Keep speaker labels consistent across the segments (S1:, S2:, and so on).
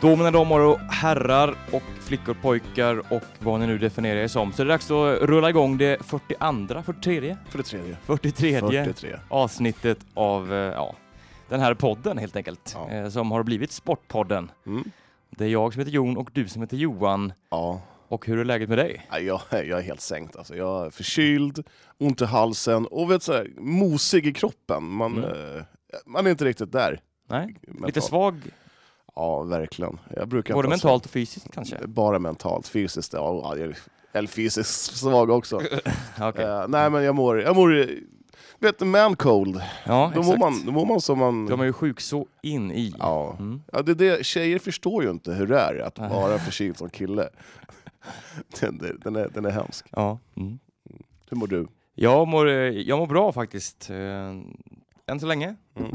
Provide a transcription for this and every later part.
S1: Då mina damer och herrar och flickor, pojkar och vad ni nu definierar er som så är det dags att rulla igång det 42, 43,
S2: För det tredje.
S1: 43
S2: 43.
S1: avsnittet av eh, ja, den här podden helt enkelt
S2: Ja.
S1: eh, som har blivit Sportpodden.
S2: Mm.
S1: Det är jag som heter Jon och du som heter Johan
S2: Ja,
S1: och hur är läget med dig?
S2: Nej, jag, jag är helt sänkt alltså. Jag är förkyld, ont i halsen och vet så här, mosig i kroppen. Man, eh, man är inte riktigt där.
S1: Nej? Mm. Lite
S2: mentalt.
S1: svag,
S2: Ja, verkligen. Jag Eh, brukar
S1: både
S2: inte
S1: mentalt och fysiskt kanske?
S2: Bara mentalt. Fysiskt, ja. ja, jag- Eller fysiskt svag också.
S1: Ja, okej.
S2: Eh, nej, men jag mår... Jag mår vet du, man cold.
S1: Ja,
S2: Då mår,
S1: exakt.
S2: man, då mår man som man...
S1: De är ju sjuk så in i.
S2: Ja.
S1: Mm.
S2: Ja, det är det. Tjejer förstår ju inte hur det är att
S1: Nej.
S2: vara förkyld som kille. Den, den, den, är, den är hemsk.
S1: Ja. Mm.
S2: Hur mår du?
S1: Jag, mår, eh, jag mår bra faktiskt. eh, Än så länge. Ta i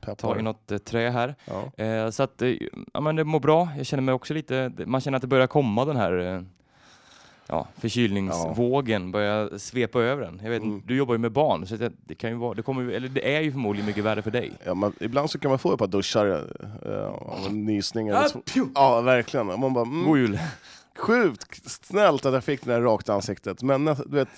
S2: Peppar?
S1: Mm. något eh, trä här.
S2: Ja.
S1: Eh, så att, eh, ja men det mår bra. Jag känner mig också lite, det- man känner att det börjar komma den här eh, ja, förkylningsvågen, börjar svepa över den. Jag vet,
S2: Mm.
S1: Du jobbar ju med barn, så att det, det kan ju vara, det kommer, ju- eller det är ju förmodligen mycket värre för dig.
S2: Ja, man, ibland så kan man få ett par duschar eh, av en nysning eller två. Ja, verkligen. Och Man bara, mm,
S1: God jul!
S2: sjukt snällt att jag fick den här rakt i ansiktet. Men nä- du vet,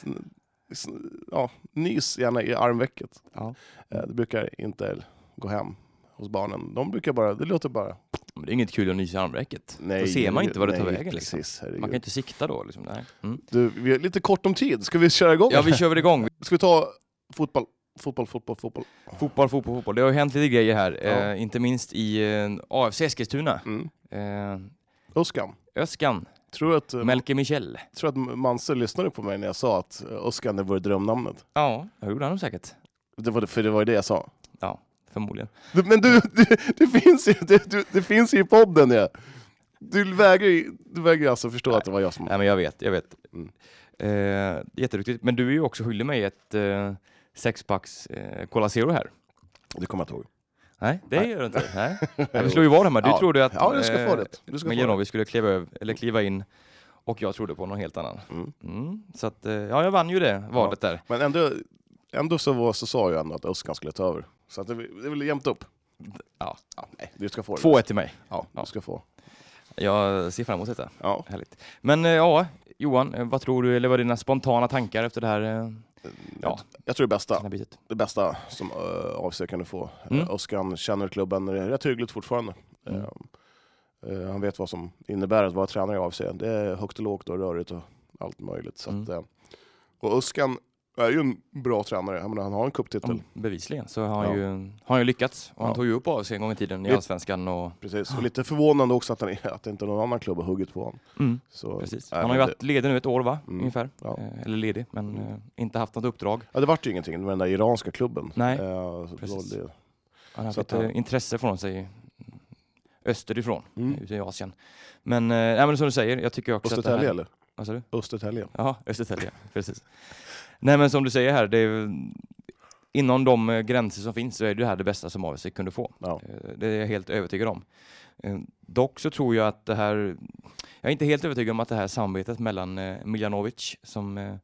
S2: s- ja, nys gärna i armvecket.
S1: Ja.
S2: Eh, Det brukar inte gå hem hos barnen. De brukar bara, det låter bara...
S1: Men det är inget kul att nysa i armräcket. Då ser man inte vad det tar
S2: nej,
S1: vägen. Liksom.
S2: Precis, herregud.
S1: Man kan inte sikta då. Liksom. Nej. Mm.
S2: Du, vi har lite kort om tid. Ska vi köra igång?
S1: Ja, vi kör väl igång.
S2: Ska vi ta fotboll? Fotboll, fotboll, fotboll.
S1: Fotboll, fotboll, fotboll. Det har ju hänt lite grejer här,
S2: Ja.
S1: eh, inte minst i eh, AFC Eskilstuna.
S2: Mm.
S1: Eh,
S2: Öskan.
S1: Öskan,
S2: Tror att, eh,
S1: Melke Michel.
S2: tror att Manse lyssnade på mig när jag sa att eh, Öskan är vårt drömnamnet.
S1: Ja, det gjorde han nog säkert.
S2: Det var, för det var ju det jag sa.
S1: Ja, förmodligen.
S2: Du, men du, du, det, finns ju, du, du, det finns ju i podden det. Du vägrar ju du vägrar alltså förstå att det var jag som...
S1: Nej men jag vet, jag vet.
S2: Mm.
S1: Eh, jätteduktigt. Men du är ju också skyldig mig ett eh, sexpacks eh, Cola Zero här.
S2: Det kommer jag inte ihåg.
S1: Nej, det gör du inte. Nej. Nej, vi slår ju vad hemma. Du
S2: Ja.
S1: trodde att eh,
S2: Ja, du ska få det. Du ska få det.
S1: Miljanovic skulle kliva, över, eller kliva in och jag trodde på någon helt annan.
S2: Mm.
S1: Mm. Så att, eh, ja, jag vann ju det valet där.
S2: Men ändå, ändå så, var, så sa jag ändå att Öskan skulle ta över. Så att det, det är väl jämnt upp.
S1: Ja.
S2: nej, du ska få det.
S1: 2-1 till mig.
S2: Ja,
S1: Ja.
S2: du ska få.
S1: Jag ser fram emot detta.
S2: Ja.
S1: Härligt. Men eh, ja, Johan, eh, vad tror du, eller vad är dina spontana tankar efter det här eh, ja,
S2: Jag tror det bästa.
S1: den här bytet?
S2: det bästa som uh, AFC kan du få.
S1: Mm.
S2: Mm. Öskan känner klubben rätt hyggligt fortfarande.
S1: Mm.
S2: Ehm, eh, han vet vad som innebär att vara tränare i AFC. Det är högt och lågt och rörigt och allt möjligt. Så att,
S1: Mm.
S2: eh, och Öskan är ju en bra tränare. Jag menar, han har en cuptitel.
S1: Ja, bevisligen så har han,
S2: Ja.
S1: ju, har han ju lyckats. Och Han
S2: Ja.
S1: tog ju upp av sig en gång i tiden i
S2: Vet-
S1: Allsvenskan. Och,
S2: Precis. Och lite förvånande också att, han, är- att inte någon annan klubb har huggit på honom. Så,
S1: Mm. precis.
S2: nej,
S1: Han har
S2: men
S1: ju
S2: det-
S1: varit ledig nu ett år, va?
S2: Mm.
S1: Ungefär.
S2: Ja.
S1: Eh, Eller ledig, men
S2: Mm.
S1: eh, inte haft något uppdrag.
S2: Ja, det vart ju ingenting med den där iranska klubben.
S1: Nej,
S2: Eh, så
S1: precis.
S2: då- det-
S1: Han har haft
S2: Så att
S1: lite
S2: han-
S1: intresse från sig österifrån,
S2: Mm.
S1: ute i Asien. Men, eh, nej, men som du säger, jag tycker också att det
S2: Östertälje
S1: här...
S2: eller?
S1: Vad sa du?
S2: Östertälje.
S1: Jaha, Östertälje. Precis. Nej men som du säger här, det är, inom de eh, gränser som finns så är det här det bästa som AFC kunde få.
S2: Ja.
S1: Eh, Det är jag helt övertygad om. Eh, Dock så tror jag att det här, jag är inte helt övertygad om att det här samarbetet mellan eh, Miljanovic, som eh,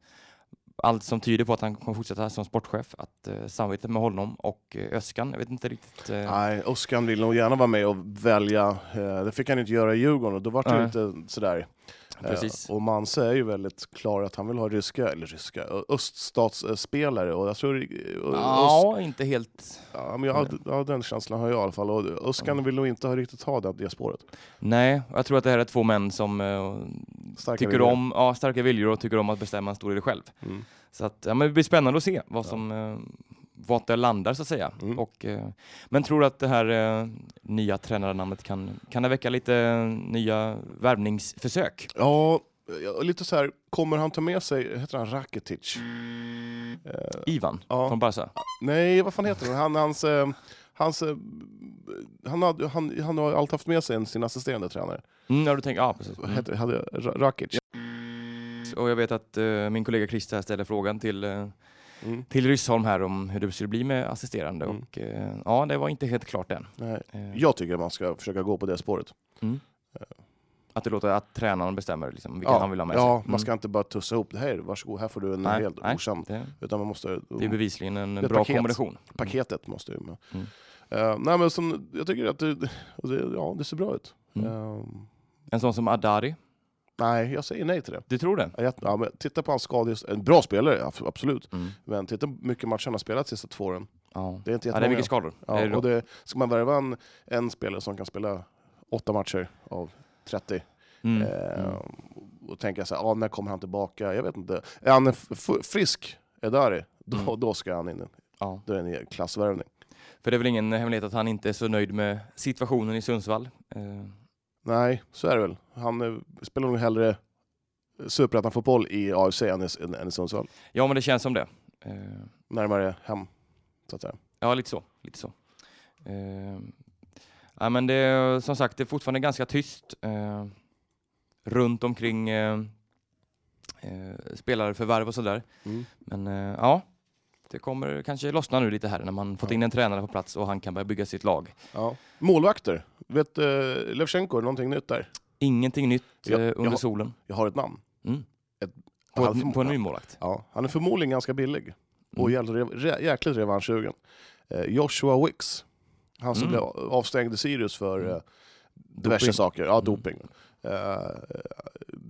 S1: allt som tyder på att han kommer fortsätta som sportchef, att eh, samarbetet med honom och eh, Öskan, jag vet inte riktigt. eh,
S2: Nej, Oskar vill nog gärna vara med och välja. Eh, Det fick han inte göra i Djurgården och då var det ju
S1: Nej.
S2: inte sådär. Eh,
S1: Precis.
S2: Och Manse är ju väldigt klar att han vill ha ryska, eller ryska, ö- öststatsspelare. Och jag tror... Ja.
S1: Ja, inte helt.
S2: ja, men jag, hade- ja, den känslan har jag i alla fall. Och Öskan vill nog inte ha riktigt ha det, det spåret.
S1: Nej, jag tror att det här är två män som eh,
S2: Starka
S1: tycker
S2: viljor.
S1: om ja, starka viljor och tycker om att bestämma en stor del själv.
S2: Mm.
S1: Så att, ja, men det blir spännande att se vad
S2: Ja.
S1: som eh, vart det landar så att säga.
S2: Mm.
S1: Och, eh, men tror du att det här eh, nya tränarnamnet kan, kan det väcka lite eh, nya värvningsförsök?
S2: Ja, eh, lite så här, kommer han ta med sig, heter han Rakitic? Eh,
S1: Ivan
S2: Ja.
S1: från Barca?
S2: Nej, vad fan heter han? han hans, eh, hans, eh, han, hade, han, han har alltid haft med sig en, sin assisterande tränare.
S1: Mm, ja, du tänker, ja, precis.
S2: Mm.
S1: Mm.
S2: Hade, hade Ra- Rakic.
S1: Och jag vet att eh, min kollega Christer här ställer frågan till, eh,
S2: Mm.
S1: till Ryssholm här om hur det skulle bli med assisterande
S2: Mm.
S1: och eh, ja, det var inte helt klart än.
S2: Nej.
S1: Eh,
S2: Jag tycker att man ska försöka gå på det spåret.
S1: Mm. Att du låter att tränaren bestämmer liksom, vilka
S2: ja,
S1: han vill ha med sig.
S2: ja,
S1: Mm.
S2: man ska inte bara tussa ihop det. Här, varsågod, här får du en
S1: Nej,
S2: hel
S1: nej.
S2: brorsan.
S1: Det,
S2: Utan man måste...
S1: det är bevisligen en
S2: Oh. ett
S1: bra
S2: paket.
S1: kombination.
S2: paketet måste ju med.
S1: Mm.
S2: Eh, nej, men som, jag tycker att det, och det, ja, det ser bra ut.
S1: Mm.
S2: Eh,
S1: En sån som Adari.
S2: nej, jag säger nej till det.
S1: Du tror det?
S2: Ja, jag- Ja, men titta på hans skador. En bra spelare, ab- absolut.
S1: Mm.
S2: Men titta hur mycket matcher han har spelat de sista två åren.
S1: Ja.
S2: Det är inte
S1: ja, det är
S2: jättemånga.
S1: mycket skador.
S2: Ja,
S1: det är det
S2: och
S1: då.
S2: det, ska man värva en, en spelare som kan spela åtta matcher av 30
S1: Mm.
S2: eh,
S1: Mm.
S2: och tänka så här, ah, när kommer han tillbaka? Jag vet inte. Är han f- f- frisk, Edari, då,
S1: Mm.
S2: då ska han in.
S1: Ja.
S2: Då är det en klassvärvning.
S1: För det är väl ingen hemlighet att han inte är så nöjd med situationen i Sundsvall. Eh,
S2: Nej, så är det väl. Han eh, spelar nog hellre superettan-fotboll i AFC än i, än, än i Sundsvall.
S1: Ja, men det känns som det. Eh,
S2: Närmare hem, så att säga.
S1: Ja, lite så. Lite så. Eh, ja, men det är som sagt det är fortfarande ganska tyst eh, runt omkring eh, eh, spelarförvärv och sådär.
S2: Mm.
S1: Men eh, ja, det kommer kanske lossna nu lite här när man fått
S2: Ja.
S1: in en tränare på plats och han kan börja bygga sitt lag.
S2: Ja. Målvakter. Vet eh, Levchenko, är det någonting nytt där?
S1: Ingenting nytt
S2: Ja,
S1: eh,
S2: jag
S1: under
S2: har-
S1: solen.
S2: Jag har ett namn.
S1: Mm.
S2: Ett-
S1: På,
S2: han,
S1: ett, på en ny målvakt.
S2: ja, han är förmodligen ganska billig. Och
S1: Mm.
S2: jävligt rev- re- jäkligt revanschsugen. Eh, Joshua Wicks. Han som
S1: Mm.
S2: blev avstängd i Sirius för
S1: Mm.
S2: eh, diverse
S1: Doping.
S2: saker. Ja,
S1: Mm.
S2: doping. Eh,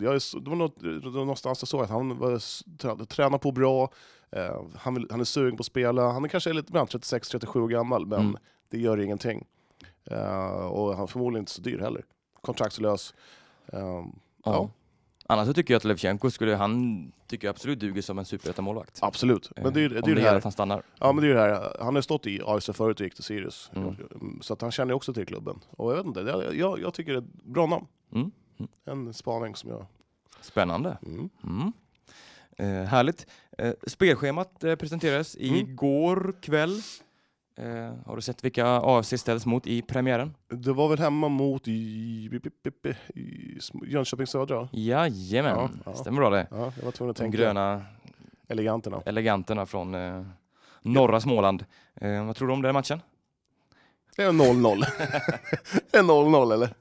S2: jag är så- det var något, det var någonstans jag såg att han var, s- trä- tränar på bra, eh, han, vill, han är sugen på att spela. Han är kanske lite bland 36-37 gammal, men
S1: Mm.
S2: det gör ingenting. Eh, och han är förmodligen inte så dyr heller. Kontraktslös. Eh,
S1: Ja.
S2: ja.
S1: Annars så tycker jag att Levchenko skulle, han tycker jag absolut duger som en superettamålgivakt.
S2: absolut. Men det är ju det,
S1: om
S2: är ju det
S1: gäller
S2: här.
S1: att han stannar.
S2: Ja, men det är ju det här. Han har ju stått i AFC förut och gick till Sirius.
S1: Mm.
S2: Så att han känner ju också till klubben. Och jag vet inte, jag, jag, jag tycker det är ett bra namn.
S1: Mm. Mm.
S2: En spaning som jag...
S1: Spännande.
S2: Mm.
S1: Mm. Eh, härligt. Eh, spelschemat eh, presenterades
S2: Mm.
S1: igår kväll. Eh, har du sett vilka AFC ställs mot i premiären?
S2: Det var väl hemma mot i, i, i, i, i Jönköping Södra?
S1: Jajamän,
S2: Ja, ja.
S1: stämmer bra det.
S2: Ja, jag var tvungen att
S1: De
S2: tänka.
S1: gröna
S2: Eleganterna.
S1: eleganterna från eh, norra Småland. Eh, vad tror du om den matchen?
S2: Det är 0-0. Det är 0-0 eller?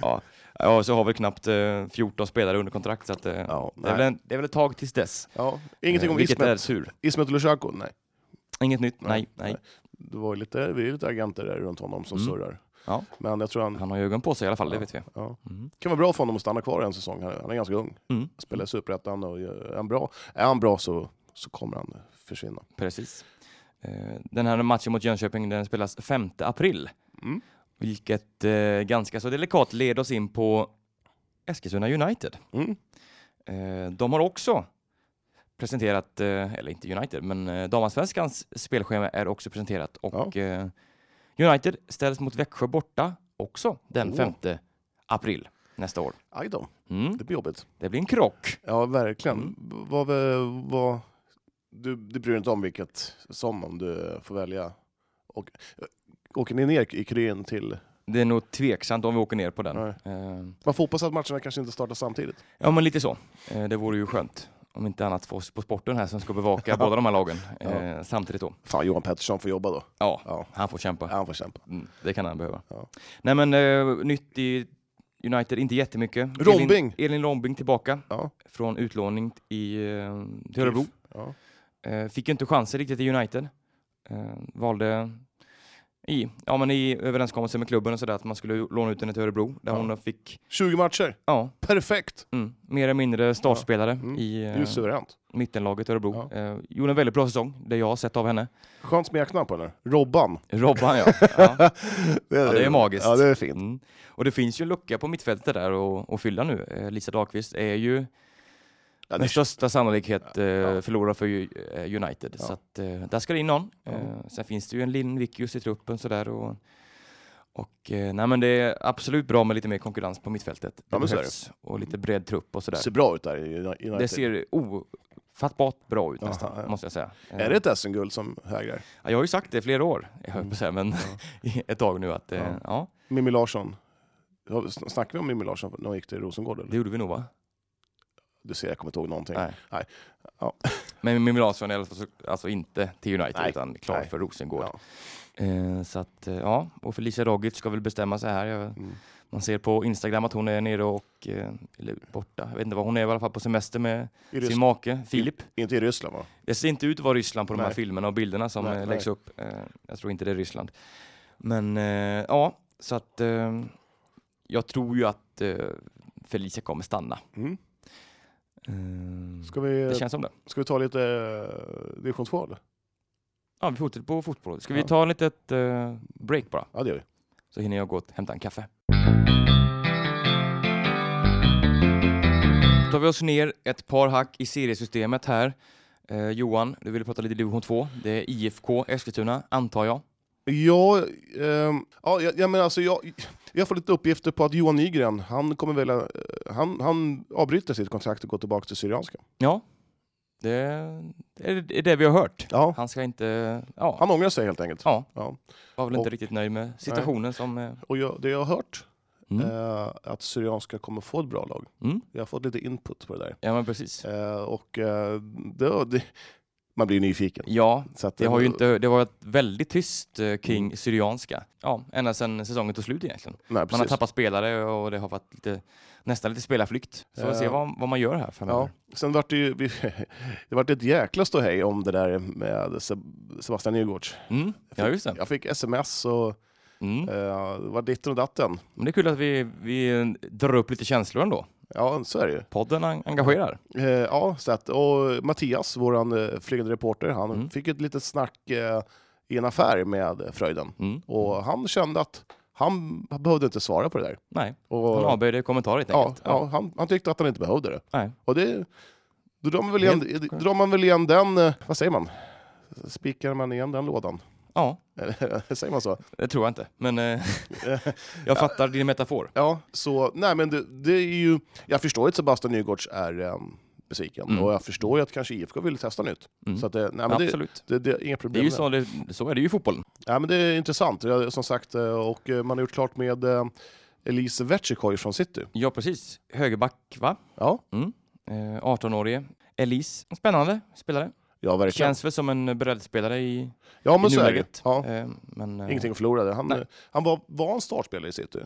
S1: ja. ja, så har vi knappt eh, 14 spelare under kontrakt så att, eh,
S2: Ja,
S1: det, är väl en, det är väl ett tag tills dess.
S2: ja. Ingenting
S1: Eh,
S2: om
S1: Vilket är
S2: Ismet,
S1: tur.
S2: Ismet Lushako? Nej.
S1: Inget nytt, nej.
S2: Nej,
S1: nej.
S2: Det var ju lite, vi är lite agenter där runt honom som
S1: Mm.
S2: surrar.
S1: Ja.
S2: Men jag tror han
S1: Han har ju ögon på sig i alla fall, det
S2: Ja.
S1: vet vi.
S2: ja.
S1: Mm.
S2: kan vara bra för honom att stanna kvar en säsong. Han han är ganska ung.
S1: Mm.
S2: Spelar i Superettan och är han bra, är han bra så, så kommer han försvinna.
S1: Precis. Eh, Den här matchen mot Jönköping den spelas 5 april,
S2: Mm.
S1: vilket eh, ganska så delikat leder oss in på Eskilstuna United.
S2: Mm.
S1: Eh, de har också presenterat, eh, eller inte United, men eh, damallsvenskans spelschema är också presenterat och eh, United ställs mot Växjö borta också den
S2: Oh.
S1: 5 april nästa år.
S2: Aj då,
S1: Mm.
S2: det blir jobbigt.
S1: Det blir en krock.
S2: Ja, verkligen.
S1: Mm.
S2: B- Vad, vad, du, du bryr dig inte om vilket som om du får välja? Och, eh, åker ni ner i kryn till...
S1: Det är nog tveksamt om vi åker ner på den.
S2: Nej.
S1: Eh,
S2: Man får hoppas att matcherna kanske inte startar samtidigt.
S1: Ja, men lite så. Eh, Det vore ju skönt. Om inte annat för oss på sporten här som ska bevaka båda de här lagen eh, samtidigt då.
S2: Fan, Johan Pettersson får jobba då.
S1: Ja,
S2: Ja,
S1: han får kämpa.
S2: han får kämpa.
S1: Mm, det kan han behöva.
S2: Ja.
S1: Nej, men eh, nytt i United, inte jättemycket.
S2: Rombing!
S1: Elin, Elin Rombing tillbaka
S2: Ja.
S1: från utlåning i, eh, till Örebro.
S2: Ja.
S1: Eh, fick ju inte chansen riktigt i United. Eh, valde i, ja, men i överenskommelse med klubben och sådär att man skulle låna ut henne till Örebro där
S2: Ja.
S1: hon fick,
S2: 20 matcher,
S1: ja,
S2: perfekt!
S1: mm, mer eller mindre startspelare
S2: Mm.
S1: i
S2: Det
S1: eh,
S2: är ju suveränt.
S1: mittenlaget Örebro. Eh, gjorde en väldigt bra säsong, det jag har sett av henne.
S2: Skönt smeknamn på henne. Robban.
S1: Robban ja. ja.
S2: Det
S1: ja det är magiskt.
S2: Ja, det är fint.
S1: Mm. Och det finns ju en lucka på mittfältet där och, och fylla nu. Eh, Lisa Dahlqvist är ju
S2: Ja, det
S1: med största sannolikhet eh,
S2: Ja.
S1: förlorare för ju- eh, United.
S2: Ja.
S1: Så att, eh, där ska det in någon.
S2: Ja.
S1: Eh, sen finns det ju en Linn Vikius i truppen sådär. Och, och eh, nej men det är absolut bra med lite mer konkurrens på mittfältet. Det
S2: Ja, men så är det.
S1: behövs. Och lite bred trupp och sådär.
S2: ser bra ut där i United.
S1: Det ser ofattbart bra ut
S2: Aha,
S1: nästan,
S2: ja.
S1: måste jag säga. Eh,
S2: Är det ett SM-guld som hägrar?
S1: Ja, jag har ju sagt det i flera år, jag höll på att säga, men ett tag nu att eh,
S2: Mm. Ja.
S1: ja.
S2: Mimmi Larsson. Ja, sn- Snackade vi om Mimmi Larsson när hon gick till Rosengård? Eller?
S1: det gjorde vi nog va?
S2: Du ser, jag kommer inte ihåg någonting.
S1: Nej.
S2: Nej. Ja.
S1: Men Mimmi Larsson är alltså, alltså inte till United
S2: Nej.
S1: utan klar
S2: Nej.
S1: för Rosengård.
S2: Ja.
S1: Eh, så att, eh, ja, och Felicia Rogic ska väl bestämma sig här. Jag
S2: Mm.
S1: Man ser på Instagram att hon är nere och, eh, eller borta, jag vet inte vad hon är i alla fall på semester med
S2: I Ryssland.
S1: sin make Filip.
S2: Inte i Ryssland va?
S1: Det ser inte ut att vara Ryssland på de här
S2: Nej.
S1: filmerna och bilderna som
S2: Nej,
S1: eh, läggs upp. Eh, jag tror inte det är Ryssland. Men eh, ja, så att eh, jag tror ju att eh, Felicia kommer stanna.
S2: Mm.
S1: Eh,
S2: Ska, vi,
S1: det känns som det.
S2: ska vi ta lite eh, division 2 eller?
S1: Ja, vi fortsätter på fotboll. Ska vi
S2: Ja.
S1: ta en litet eh, break bara?
S2: Ja det gör vi.
S1: Så hinner jag gå och hämta en kaffe. Då tar vi oss ner ett par hack i seriesystemet här. Eh, Johan, du ville prata lite division 2. Det är IFK Eskilstuna, antar jag.
S2: Ja, ehm, ja, jag, jag, menar alltså, jag, jag får lite uppgifter på att Johan Nygren, han, kommer välja, eh, han, han avbryter sitt kontrakt och går tillbaka till Syrianska.
S1: Ja, det är det, är det vi har hört.
S2: Ja,
S1: Han ska inte... Ja,
S2: han ångrar sig helt enkelt.
S1: ja
S2: Ja.
S1: var väl inte
S2: Och-
S1: riktigt nöjd med situationen som... eh,
S2: Och jag, det jag har hört
S1: Mm.
S2: eh, att Syrianska kommer få ett bra lag.
S1: Mm.
S2: Jag har fått lite input på det där.
S1: Ja, men precis.
S2: Eh, och eh, det, det, man blir ju nyfiken.
S1: Ja,
S2: Så att,
S1: det har ju
S2: eh, Mm.
S1: inte... Det har varit väldigt tyst eh, kring Syrianska. Ja, ända sedan säsongen tog slut egentligen.
S2: Nej,
S1: Man har
S2: precis.
S1: tappat spelare och det har varit lite, nästan lite spelarflykt. Så vi får se
S2: Ja.
S1: vad, vad man gör här framöver.
S2: Ja. Sen vart det ju vi, det vart ett jäkla ståhej om det där med Seb- Sebastian Nygårds.
S1: Mm. Ja, just det.
S2: Jag fick sms och
S1: Mm.
S2: eh, det var ditten och datten.
S1: Men det är kul att vi, vi eh, drar upp lite känslor ändå.
S2: Ja, så är det ju.
S1: Podden en- engagerar.
S2: Eh, ja, så att, och Mattias, vår eh, flygande reporter, han
S1: Mm.
S2: fick ett litet snack eh, i en affär med Fröjden.
S1: Mm.
S2: Och han kände att han behövde inte svara på det där.
S1: Nej,
S2: Och,
S1: han avböjde kommentarer helt
S2: ja,
S1: enkelt.
S2: ja, han, han tyckte att han inte behövde det.
S1: Nej.
S2: Och det, då drar man väl igen,
S1: Helt-
S2: drar man väl igen den, eh, vad säger man? Spikar man igen den lådan?
S1: ja,
S2: Eller säger man så?
S1: det tror jag inte. Men eh, jag fattar din metafor.
S2: Ja, så nej men det, det är ju, jag förstår ju att Sebastian Nygårds är eh, besviken
S1: Mm.
S2: och jag förstår ju att kanske IFK vill testa nytt.
S1: Mm.
S2: Så att det, nej, men det,
S1: Absolut.
S2: det, det är inga
S1: Det
S2: problem.
S1: är ju
S2: med
S1: så, det, så är det ju i fotbollen.
S2: Ja, men det är intressant, Ja, som sagt. eh, Och eh, man har gjort klart med eh, Elise Vetchikoj från City.
S1: Ja, precis. Högerback, va?
S2: Ja,
S1: Eh, 18-årige. Elise, en spännande spelare.
S2: ja verkligen.
S1: Känns väl som en breddspelare i,
S2: ja,
S1: i
S2: men så är det.
S1: nuläget.
S2: Ja,
S1: Eh, men, eh,
S2: ingenting att förlora. Han,
S1: Nej.
S2: eh, han var, var en startspelare i City.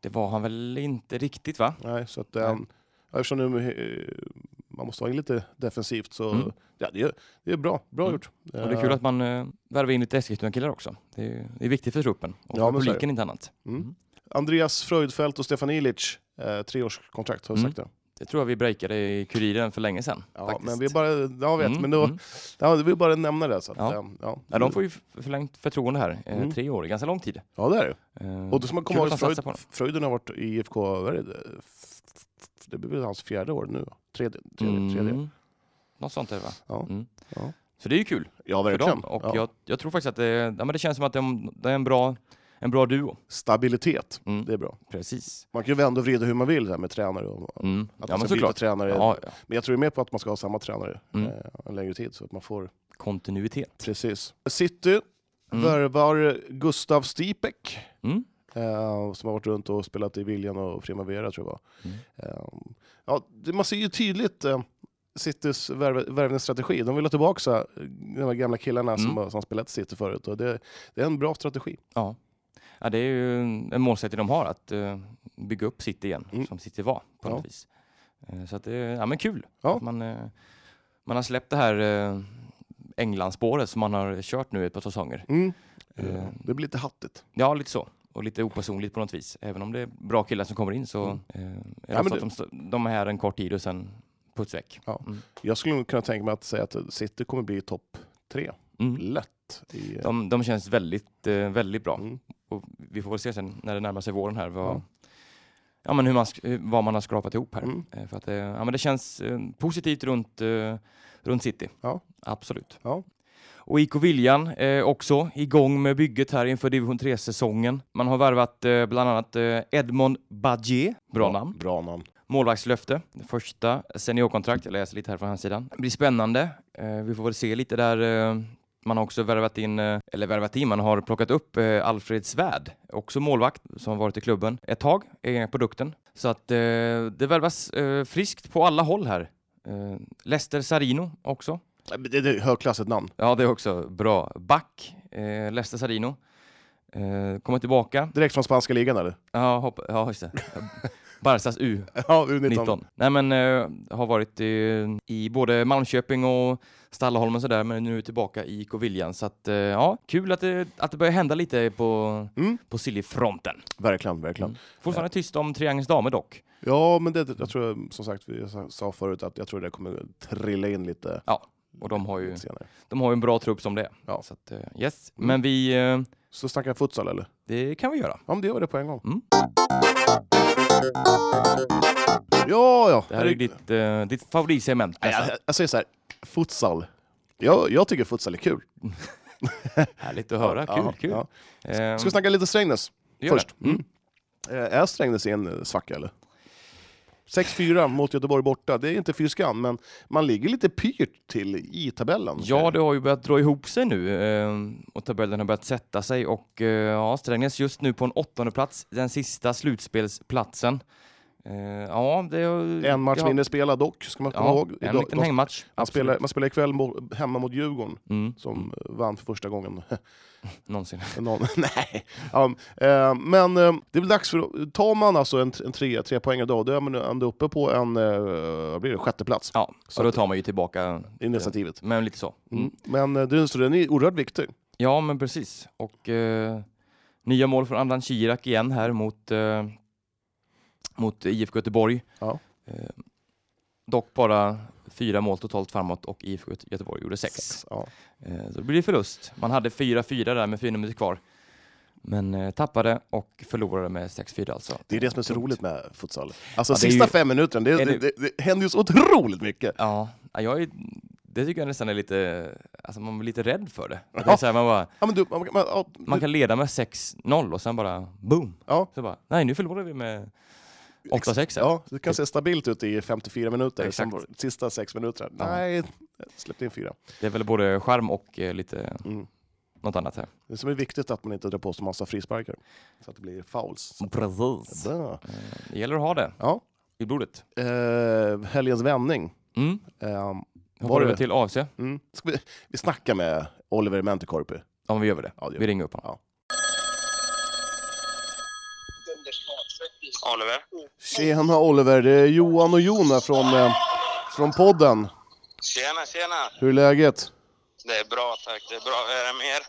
S1: Det var han väl inte riktigt va?
S2: Nej, så att, eh,
S1: Nej.
S2: ja, eftersom nu, eh, man måste vara in lite defensivt så
S1: Mm.
S2: ja, det, är, det är bra, bra
S1: Mm.
S2: gjort.
S1: Och det är kul att man äh, värvar in lite Eskilstuna-killar också. Det är, ju- det är viktigt för truppen och
S2: Ja,
S1: för
S2: men så är
S1: publiken inte annat.
S2: Mm. Andreas Fröjdfält och Stefan Ilic, eh, treårskontrakt har vi
S1: Mm.
S2: sagt det.
S1: Det tror jag vi breakade i Kuriren för länge sedan.
S2: Ja,
S1: faktiskt.
S2: men vi bara, ja, vet,
S1: Mm,
S2: men då,
S1: mm.
S2: ja, vi bara nämna det. Så att,
S1: Ja.
S2: eh, ja.
S1: Ja, de får ju f- förlängt förtroende här. eh,
S2: Mm.
S1: Tre år, ganska lång tid.
S2: ja, det är det.
S1: Eh,
S2: Och då ska man komma
S1: kul
S2: ihåg
S1: att
S2: att
S1: de satsar på
S2: Freud,
S1: honom.
S2: Freuden har varit i IFK, vad är det? F- f- f- det blir väl hans fjärde år nu? va? Tredje? tredje, tredje.
S1: Mm. Något sånt är det va?
S2: Ja.
S1: Mm.
S2: Ja.
S1: Så det är ju kul
S2: Ja,
S1: för
S2: verkligen.
S1: dem. Och
S2: ja.
S1: jag, jag tror faktiskt att det, ja, men det känns som att de, det är en bra, en bra duo.
S2: Stabilitet,
S1: Mm.
S2: det är bra.
S1: Precis.
S2: Man kan ju vända och vrida hur man vill där med tränare. Och,
S1: Mm.
S2: att
S1: Ja, men
S2: man ska byta
S1: såklart.
S2: tränare.
S1: Ja, ja.
S2: Men jag tror ju mer på att man ska ha samma tränare
S1: Mm.
S2: eh, en längre tid. Så att man får...
S1: Kontinuitet.
S2: Precis. City
S1: Mm.
S2: värvar Gustav Stipek.
S1: Mm.
S2: Eh, som har varit runt och spelat i Viljan och Primavera tror jag var.
S1: Mm.
S2: Eh, ja, det, man ser ju tydligt eh, Citys värv, värvningsstrategi. De vill ha tillbaka så här, de här gamla killarna som,
S1: Mm.
S2: har- som har spelat i City förut. Och det, det är en bra strategi.
S1: Ja. ja, det är ju en en målsättning de har att eh, bygga upp City igen,
S2: Mm.
S1: som City var på
S2: Ja.
S1: något vis. Eh, så att det är ja, men kul
S2: Ja.
S1: att man, eh, man har släppt det här uh, Englandsspåret som man har kört nu ett par säsonger.
S2: Mm.
S1: Eh.
S2: Eh, Det blir lite hattigt.
S1: Ja, lite så. Och lite opersonligt på något vis. Även om det är bra killar som kommer in så
S2: Mm.
S1: eh, är det
S2: men
S1: ofta
S2: det-
S1: att de, stå- de är här en kort tid och sen puts väck.
S2: Jag skulle nog kunna tänka mig att säga att City kommer bli topp tre.
S1: Mm.
S2: Lätt. I, eh,
S1: De, de känns väldigt, eh, väldigt bra.
S2: mm.
S1: Och vi får väl se sen när det närmar sig våren här vad,
S2: Ja.
S1: ja. men hur man, sk- eh, vad man har skrapat ihop här.
S2: Mm.
S1: Eh, För att det, ja, men det känns eh, positivt runt, eh, runt City.
S2: Ja.
S1: Absolut.
S2: Ja.
S1: Och IK Viljan eh, också igång med bygget här inför division 3-säsongen. Man har värvat eh, bland annat eh, Edmond Badje, bra namn,
S2: Bra namn.
S1: målvaktslöfte, Det första seniorkontrakt, jag läser lite här från hans sidan. Det blir spännande, eh, vi får väl se lite där. Eh, man har också värvat in, eh, eller värvat in, man har plockat upp eh, Alfred Svärd, också målvakt som har varit i klubben ett tag, egna produkten. Så att eh, det värvas eh, friskt på alla håll här. Eh, Lester Sarino också.
S2: Eh, men Det det är ett högklassigt namn.
S1: Ja, det är också bra. Back, eh, Lester Sarino. Eh, Kommer tillbaka.
S2: Direkt från spanska ligan eller?
S1: Ja, hopp, ja just det. Barsas U
S2: Ja, U19.
S1: 19. Nej men eh, har varit i, i både Malmköping och Stallaholm och sådär men nu är tillbaka i IK Viljan. Så att eh, ja, kul att det, att det börjar hända lite på,
S2: Mm,
S1: på Siljefronten.
S2: verkligen, verkligen.
S1: Mm. Fortfarande tyst om Triangelns damer dock.
S2: Ja, men det, jag tror som sagt, vi sa- sa förut att jag tror det kommer trilla in lite.
S1: Ja, och de har ju-
S2: lite senare.
S1: De har ju en bra trupp som det är.
S2: Ja.
S1: Så att, eh, yes.
S2: Mm.
S1: Men vi, eh,
S2: Så snackar jag futsal eller?
S1: det kan vi göra.
S2: Ja, men det gör vi det på en gång.
S1: Mm.
S2: Ja, ja.
S1: Det här är ju ditt, eh, ditt Alltså, favoritsegment.
S2: Nej,
S1: nästan.
S2: jag, jag säger så här, futsal. Jag, jag tycker futsal är kul.
S1: Härligt att höra, kul,
S2: Ja,
S1: kul.
S2: ja.
S1: Ehm,
S2: Ska vi snacka lite Strängnäs
S1: det gör
S2: först?
S1: det. Mm.
S2: Eh, Är Strängnäs i en eh, svacka eller? 6-4 mot Göteborg borta, det är inte fy skam, men man ligger lite pyrt till i tabellen.
S1: Ja, det har ju börjat dra ihop sig nu ehm, och tabellen har börjat sätta sig och eh, ja, Strängnäs just nu på en åttonde plats, den sista slutspelsplatsen. Eh, Ja, det har,
S2: En match
S1: det har-
S2: mindre spelad dock, ska man komma
S1: Ja,
S2: ihåg.
S1: en
S2: Idag-
S1: liten
S2: de-
S1: hängmatch.
S2: man,
S1: absolut.
S2: spelar, man spelar ikväll mo- hemma mot Djurgården,
S1: Mm,
S2: som eh, vann för första gången
S1: någonsin.
S2: Någon, nej. Ja, eh, men eh, det är väl dags för... Tar man alltså en, en tre, tre poäng idag, då är man ändå uppe på en eh, vad blir det, sjätte plats
S1: Ja,
S2: Så
S1: och då
S2: att-
S1: tar man ju tillbaka,
S2: i initiativet.
S1: men lite så. Mm.
S2: Mm. Men eh, det- så den är oerhört viktig.
S1: Ja, men precis. Och eh, nya mål från Adnan Kirak igen här mot, eh, mot IFK Göteborg.
S2: Ja.
S1: Eh, dock bara fyra mål totalt framåt och IFK Göte- Göteborg gjorde sex.
S2: Ja.
S1: Eh, så det blir förlust. Man hade 4-4 där med fyra minuter kvar. Men eh, tappade och förlorade med 6-4 alltså.
S2: Det är det som är så roligt med futsal. Alltså
S1: Ja, det är
S2: sista
S1: ju-
S2: fem minuterna, det,
S1: Är
S2: det,
S1: det-
S2: det, det händer ju så otroligt mycket.
S1: Ja, ja, jag är, det tycker jag nästan är lite, alltså man blir lite rädd för det. Att det
S2: Ja.
S1: är så här, man, bara,
S2: Ja, men du, man, man, ja, du-
S1: man kan leda med 6-0 och sen bara boom!
S2: Ja.
S1: Så bara, nej nu förlorar vi med 8-6 här.
S2: ja, det kan se stabilt ut i 54 minuter,
S1: Exakt.
S2: sen sista sex minuterna,
S1: Ja.
S2: nej, släppte in fyra.
S1: Det är väl både charm och eh, lite
S2: Mm.
S1: något annat här.
S2: Det som är viktigt är att man inte drar på sig massa frisparkar, så att det blir fouls.
S1: Precis.
S2: Bra.
S1: Det gäller att ha det
S2: Ja.
S1: i blodet.
S2: Eh, helgens vändning.
S1: Mm.
S2: Eh,
S1: Hoppar
S2: det-
S1: över till AFC?
S2: mm. Ska vi, vi snackar med Oliver Mäntykorpi.
S1: Ja, men vi gör väl det.
S2: Ja, det gör
S1: vi ringer upp honom.
S3: Oliver?
S2: Tjena Oliver, det är Johan och Jon här från, eh, från podden.
S3: Tjena, tjena!
S2: Hur är läget?
S3: Det är bra tack, det är bra. Är det mer?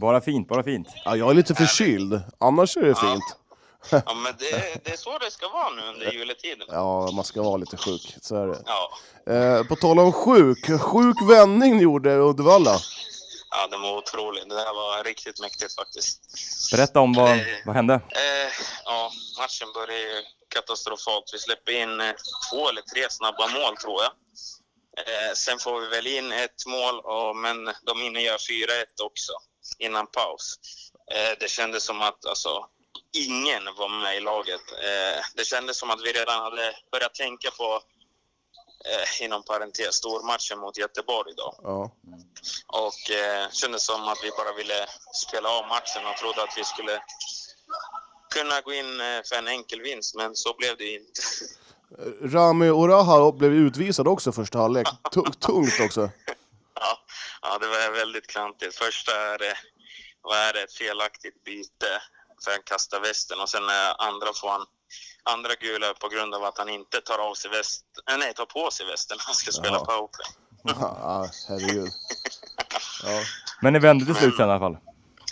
S1: Bara fint, bara fint.
S2: Ja, jag är lite förkyld, annars är det fint.
S3: Ja, men det, det är så det ska vara nu under juletiden.
S2: Ja, man ska vara lite sjuk, så är det.
S3: Ja,
S2: Eh, på tal om sjuk, sjuk vändning ni gjorde i Uddevalla.
S3: ja det var otroligt. Det där var riktigt mäktigt faktiskt.
S1: Berätta om vad,
S3: Eh,
S1: vad hände.
S3: Eh, ja, matchen började ju katastrofalt. Vi släpper in eh, två eller tre snabba mål, tror jag. Eh, sen får vi väl in ett mål, och, men de hinner göra 4-1 också innan paus. Eh, det kändes som att alltså, ingen var med i laget. Eh, det kändes som att vi redan hade börjat tänka på, eh, inom parentes, stormatchen mot Göteborg idag
S2: Ja.
S3: och eh, kändes som att vi bara ville spela av matchen och trodde att vi skulle kunna gå in eh, för en enkel vinst, men så blev det ju inte.
S2: Rami Oraha blev utvisad också första halvlek. Tu- tungt också.
S3: Ja, ja, det var väldigt klantigt. Först är det, vad är det, ett felaktigt byte för han kastar västen och sen eh, andra får han andra gula på grund av att han inte tar av sig västen, eh, nej, tar på sig västen när han ska spela
S2: Jaha.
S3: powerplay.
S2: Ja, herregud. Ja.
S1: Men det vände till slut sen i alla fall.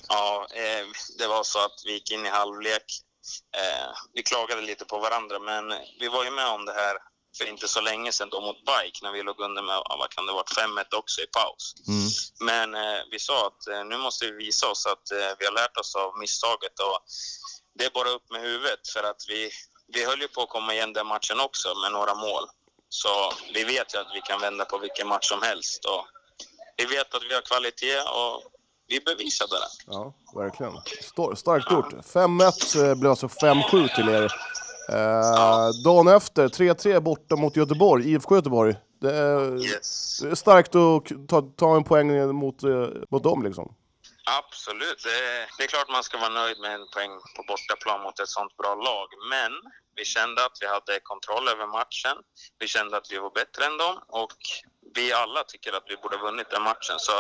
S3: Ja, eh, det var så att vi gick in i halvlek. Eh, vi klagade lite på varandra, men vi var ju med om det här för inte så länge sedan då mot BIKE när vi låg under med, ja, vad kan det ha varit, 5-1 också i paus.
S1: Mm.
S3: Men eh, vi sa att eh, nu måste vi visa oss att eh, vi har lärt oss av misstaget och det är bara upp med huvudet för att vi, vi höll ju på att komma igen den matchen också med några mål. Så vi vet ju att vi kan vända på vilken match som helst och vi vet att vi har kvalitet och vi bevisade det.
S2: Ja, verkligen. Stor, starkt gjort. 5-1 eh, blev alltså 5-7 till er. Eh, dagen efter, 3-3 borta mot Göteborg, IFK Göteborg. Det är,
S3: Yes.
S2: det är starkt att k- ta, ta en poäng mot, eh, mot dem liksom.
S3: Absolut. Det, det är klart man ska vara nöjd med en poäng på bortaplan mot ett sånt bra lag. Men vi kände att vi hade kontroll över matchen. Vi kände att vi var bättre än dem och vi alla tycker att vi borde ha vunnit den matchen. Så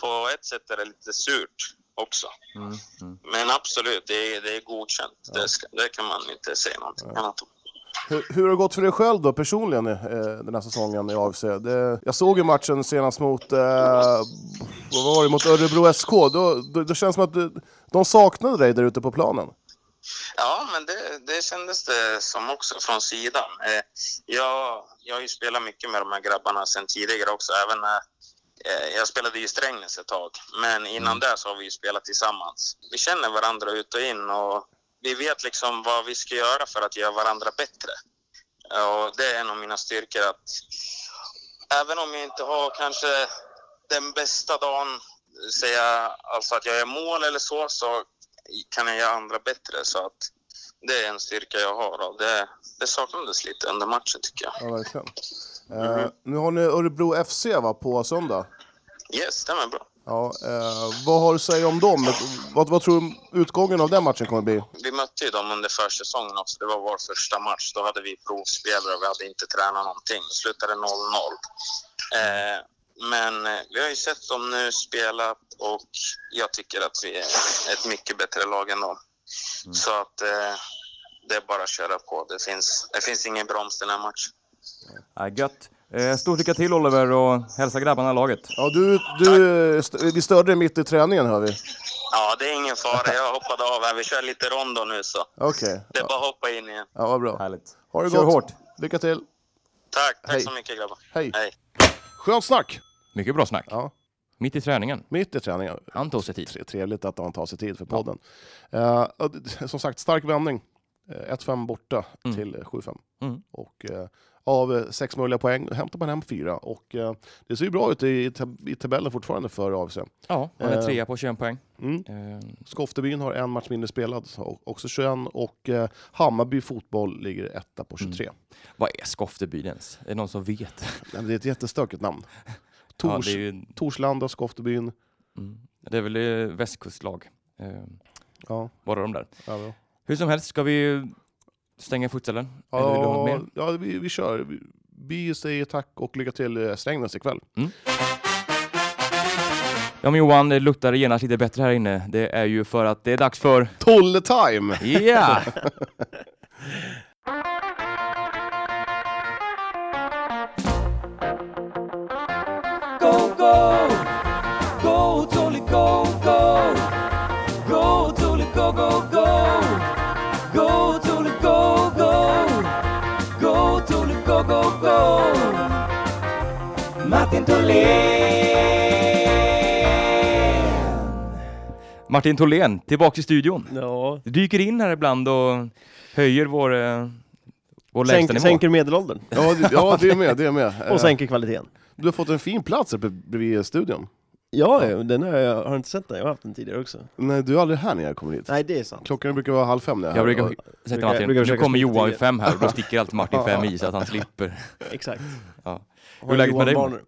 S3: på ett sätt är det lite surt också.
S1: Mm, mm.
S3: Men absolut, det är, det är godkänt. Det, ska, det kan man inte säga någonting annat om.
S2: Hur, hur har det gått för dig själv då personligen eh, den här säsongen i AFC? Det, jag såg ju matchen senast mot, eh, vad var det, mot Örebro SK. Då, då, det känns som att du, de saknade dig där ute på planen.
S3: Ja, men det, det kändes det som också från sidan. Eh, jag, jag har ju spelat mycket med de här grabbarna sedan tidigare också, även när eh, jag spelade i Strängnäs ett tag. Men innan det så har vi ju spelat tillsammans. Vi känner varandra ut och in och vi vet liksom vad vi ska göra för att göra varandra bättre. Eh, Och det är en av mina styrkor att även om jag inte har kanske den bästa dagen, säga alltså att jag gör mål eller så, så kan jag göra andra bättre. Så att det är en styrka jag har och det, det saknades lite under matchen tycker jag.
S2: Ja, verkligen. Eh, nu har ni Örebro FC va, på söndag.
S3: Yes, stämmer bra.
S2: Ja, eh, vad har du att säga om dem? Vad, vad tror du utgången av den matchen kommer bli?
S3: Vi mötte ju dem under försäsongen också. Det var vår första match. Då hade vi provspelare och vi hade inte tränat någonting. Det slutade 0-0. Eh, men eh, vi har ju sett dem nu spela och jag tycker att vi är ett mycket bättre lag än dem. Så att eh, det är bara att köra på. Det finns, det finns ingen broms den här matchen.
S1: Ja, gött. Eh, stort lycka till Oliver och hälsa grabbarna i laget.
S2: Ja, du, du, st- vi störde dig mitt i träningen hör vi.
S3: Ja, det är ingen fara. Jag hoppade av här. Vi kör lite rondo nu så.
S2: Okej,
S3: Det är bara att hoppa in igen.
S2: ja, vad bra.
S1: Härligt.
S2: Ha det
S1: Kör
S2: gott.
S1: hårt.
S2: Lycka till.
S3: Tack, tack
S2: Hej.
S3: så mycket grabbar.
S2: Hej.
S3: Hej.
S2: Skönt snack!
S1: Mycket bra snack.
S2: Ja,
S1: Mitt i träningen.
S2: mitt i träningen.
S1: Han tog sig tid.
S2: Tre- Trevligt att han tar sig tid för podden. Eh, och d- som sagt, stark vändning. Eh, 1-5 borta
S1: Mm.
S2: till eh, 7-5.
S1: Mm.
S2: Och eh, av eh, sex möjliga poäng hämtar man hem fyra. Och eh, det ser ju bra ut i, tab- i tabellen fortfarande för AFC.
S1: Ja, han är
S2: Eh.
S1: trea på 21 poäng.
S2: Mm.
S1: Eh,
S2: Skoftebyn har en match mindre spelad, så också 21. Och eh, Hammarby fotboll ligger etta på 23.
S1: Mm. vad är Skofteby ens? Är det någon som vet?
S2: Nej, men Det är ett jättestökigt namn.
S1: Ja,
S2: Tors,
S1: det, är ju,
S2: Torslanda, Skoftebyn.
S1: mm, det är väl eh, västkustlag. Eh,
S2: Ja,
S1: bara de där.
S2: ja, ja.
S1: Hur som helst, ska vi stänga futsalen? Eller vill du ha något
S2: ja,
S1: mer?
S2: ja vi, vi kör. Vi, vi säger tack och lycka till eh, Strängnäs ikväll.
S1: Ja men Johan, det luktar genast lite bättre här inne. Det är ju för att det är dags för...
S2: Tolle time!
S1: Ja!
S4: go, go. Go, Tolly, go, go. Go, Tolly, go, go, go. Go, Tolly, go, go. Go, Tolly, go, go, go. Martin Tholén.
S1: Martin Tholén, tillbaka i studion.
S5: Ja,
S1: Du dyker in här ibland och höjer vår, eh, vår
S5: sänker,
S1: lägstanivå.
S5: sänker medelåldern
S2: Ja, det, ja, det är med. Det är med. Eh,
S5: och sänker kvaliteten.
S2: Du har fått en fin plats här b- bredvid studion.
S5: Ja, ja, den har jag, har jag inte sett den, jag har haft den tidigare också.
S2: Nej, du är aldrig här när jag kommer hit.
S5: Nej, det är sant.
S2: Klockan brukar vara halv fem när jag,
S1: Jag brukar
S2: och-
S1: säga till
S5: brukar-
S1: Martin,
S5: brukar
S1: nu
S5: försöka
S1: kommer
S5: smita
S1: Johan i
S5: in det.
S1: fem här och då sticker alltid Martin fem i så att han slipper.
S5: Exakt.
S1: Ja.
S5: Har
S1: Hur är läget med
S5: Johan
S1: dig?